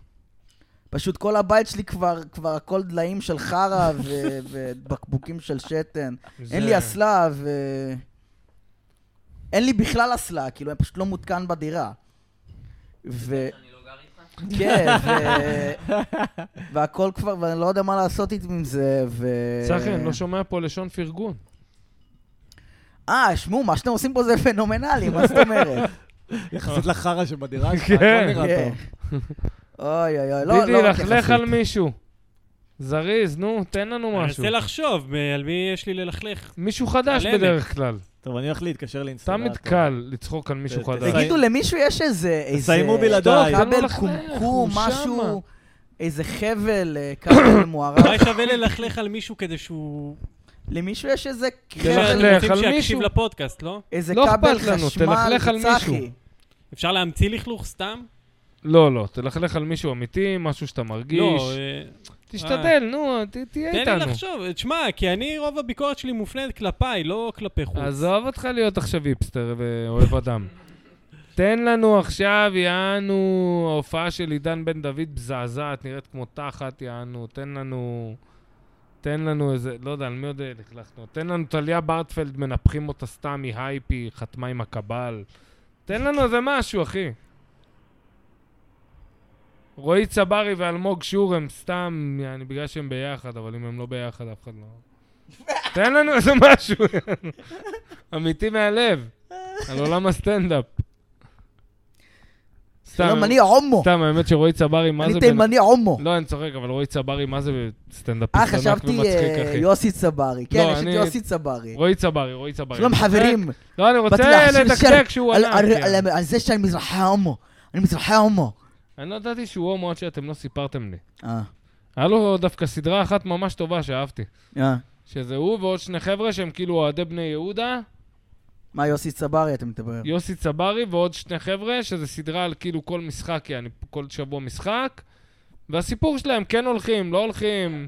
פשוט כל הבית שלי כבר, כבר הכל דליים של חרא ו- ובקבוקים של שתן. אין לי אסלה ו... אין לי בכלל אסלה, כאילו, אני פשוט לא מותקן בדירה. ו... כן, ו... והכל כבר, ואני לא יודע מה לעשות איתי עם זה, ו... צחי, אני לא שומע פה לשון פרגון. אה, שמעו, מה שאתם עושים פה זה פנומנלי, מה זאת אומרת? יחסית לחרא שבדירה שלך, כן. הכל נראה כן. טוב. אוי אוי אוי, לא, דידי, לא רק לכלך יחסית. על מישהו. זריז, נו, תן לנו אני משהו. מנסה לחשוב, מ- על מי יש לי ללכלך. מישהו חדש על עמק. בדרך כלל. טוב, אני הולך להתקשר לאינסטלטור. לא תמיד קל לצחוק על מישהו ת- חדש. תגיד, תגידו, למישהו יש איזה... איזה- תסיימו בלעדיי. תן לו כבל לחלך, קומקום, הוא משהו, איזה חבל, אה, כבל מוערך. אולי שווה ללכלך על מישהו כדי שהוא... למישהו יש איזה תלכלך חבל, על רוצים כן. מישהו. שיקשיב לפודקאסט, לא? איזה לא כבל אכפת לנו, חשמל, תלכלך על מישהו. צחי. אפשר להמציא לכלוך סתם? לא, לא, תלכלך על מישהו אמיתי, משהו שאתה מרגיש. לא, אה, תשתדל, נו, ת- תהיה תן לי איתנו. לחשוב. אה, תשמע, כי אני, רוב הביקורת שלי מופנית כלפיי, לא כלפי חוץ. עזוב אותך להיות עכשיו היפסטר ואוהב אדם. תן לנו עכשיו, יענו, ההופעה של עידן בן דוד מזעזעת, נראית כמו תחת, יענו, תן לנו... תן לנו איזה, לא יודע, על מי עוד לכלכנו? תן לנו טליה ברטפלד, מנפחים אותה סתם, היא הייפי, חתמה עם הקבל. תן לנו איזה משהו, אחי. רועי צברי ואלמוג שור הם סתם, אני בגלל שהם ביחד, אבל אם הם לא ביחד, אף אחד לא... תן לנו איזה משהו, אמיתי מהלב, על עולם הסטנדאפ. סתם, שלום, אני הומו. סתם, האמת שרועי צברי, מה לא, אני זה... בן- תימני הומו. לא, אני צוחק, אבל רועי צברי, מה זה סטנדאפיסט אה, ענק חשבתי ומצחיק, אה, אחי. יוסי צברי. כן, לא, יש את אני- יוסי צברי. רועי צברי, רועי צברי. שלום חברים. לא, אני באתי רוצה להחשיב לדקדק שר שהוא על- ענק. על- כן. על- על זה שאני מזרחי הומו. אני מזרחי הומו. אני לא ידעתי שהוא הומו עד שאתם לא סיפרתם לי. אה, היה לו דווקא סדרה אחת ממש טובה שאהבתי. אה. שזה הוא ועוד שני חבר'ה שהם כאילו אוהדי בני יהודה, מה, יוסי צברי אתה מדבר? יוסי צברי ועוד שני חבר'ה, שזה סדרה על כאילו כל משחק, יעני כל שבוע משחק. והסיפור שלהם, כן הולכים, לא הולכים.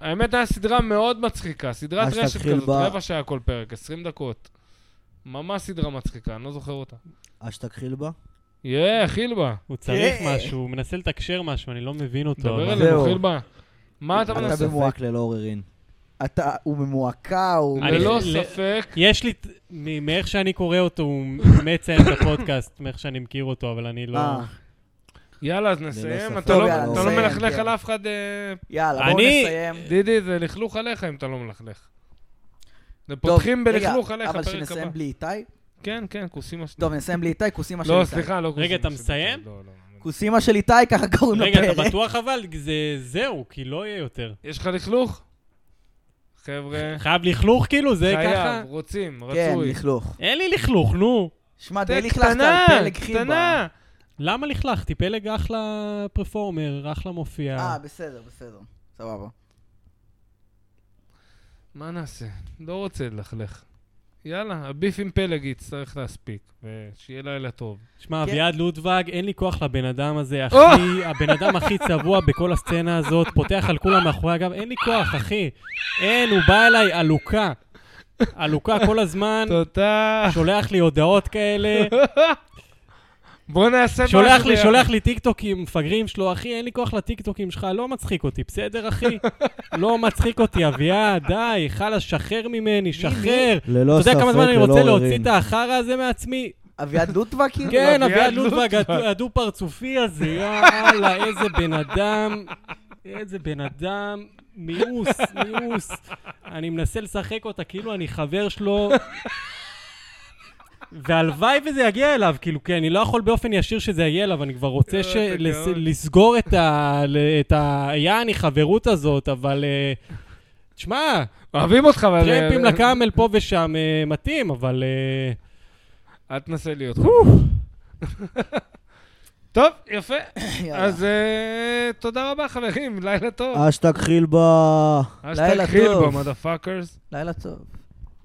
האמת, הייתה סדרה מאוד מצחיקה, סדרת אז רשת תתחיל כזאת, ב- רבע שעה כל פרק, 20 דקות. ממש סדרה מצחיקה, אני לא זוכר אותה. אז שתכחיל בה. יא, חילבה. הוא צריך אה. משהו, הוא מנסה לתקשר משהו, אני לא מבין אותו. דבר אבל- אלינו, זהו. חילבה. מה אתה אתה מנסה? במועק- ללא עוררין. אתה- הוא ממועקה, הוא... אני- ללא ל- ספק, יש לי, ת- מ- מאיך שאני קורא אותו, הוא מציין את הפודקאסט, מאיך שאני מכיר אותו, אבל אני לא... אה, יאללה, אז נסיים. ספק. אתה טוב, לא- יאללה, אתה לא נסיים, מלכלך כן. על אף אחד אה, יאללה, בואו אני- נסיים. דידי, זה לכלוך עליך אם אתה לא מלכלך. זה פותחים טוב, בלכלוך רגע, עליך אבל פרק הבא. שנסיים בלי איתי? כן, כן, כוסימה שלי. טוב, נסיים בלי איתי, כוסימה של לא, איתי. סליחה, לא כוסימה רגע, אתה שלי. מסיים? לא, לא. כוסימה של איתי, ככה קוראים לפרק. רגע, אתה בטוח אבל? זה- זהו, כי לא יהיה יותר. יש לך לכלוך? חבר'ה, חייב לכלוך כאילו? זה ככה? חייב, רוצים, כן, רצוי. לכלוך. אין לי לכלוך, נו. שמע, זה די לכלכת קטנה, על פלג חיבה. קטנה. למה לכלכתי? פלג אחלה פרפורמר, אחלה מופיע. אה, בסדר, בסדר. סבבה. מה נעשה? לא רוצה ללכלך. יאללה, הביף עם פלג יצטרך להספיק, ושיהיה לילה טוב. שמע, כן. אביעד לודווג, אין לי כוח לבן אדם הזה, אחי, או! הבן אדם הכי צבוע בכל הסצנה הזאת, פותח על כולם מאחורי הגב, אין לי כוח, אחי. אין, הוא בא אליי עלוקה. עלוקה כל הזמן, תודה. שולח לי הודעות כאלה, בוא נעשה משהו. שולח לי, ביחד. שולח לי טיקטוקים מפגרים שלו, אחי, אין לי כוח לטיקטוקים שלך, לא מצחיק אותי, בסדר, אחי? לא מצחיק אותי, אביעד, די, חלאס, שחרר ממני, שחרר. אתה ללא לא ספק, יודע כמה זמן אני ללא רוצה להוציא עוררין. את החרא הזה מעצמי? אביעד לוטווה כאילו? כן, אביעד אביעד לודווג. לודווג, הדו- הדו-פרצופי הזה, יאללה, איזה בן אדם, איזה בן אדם, מיאוס, מיאוס. אני מנסה לשחק אותה כאילו אני חבר שלו. והלוואי וזה יגיע אליו, כאילו, כן, אני לא יכול באופן ישיר שזה יגיע אליו, אני כבר רוצה ש... אה, אתה לס- גאון. לסגור את ה... ל- את ה... יעני חברות הזאת, אבל... אה, תשמע, אוהבים אותך, אבל... אה, טרמפים לקאמל פה ושם אה, מתאים, אבל... אה, אל תנסה להיות חבר. טוב, יפה. יאללה. אז אה, תודה רבה, חברים, לילה טוב. אשתג חילבה. אשתג אה, לילה חילבו, טוב. מודה פאקרס. לילה טוב.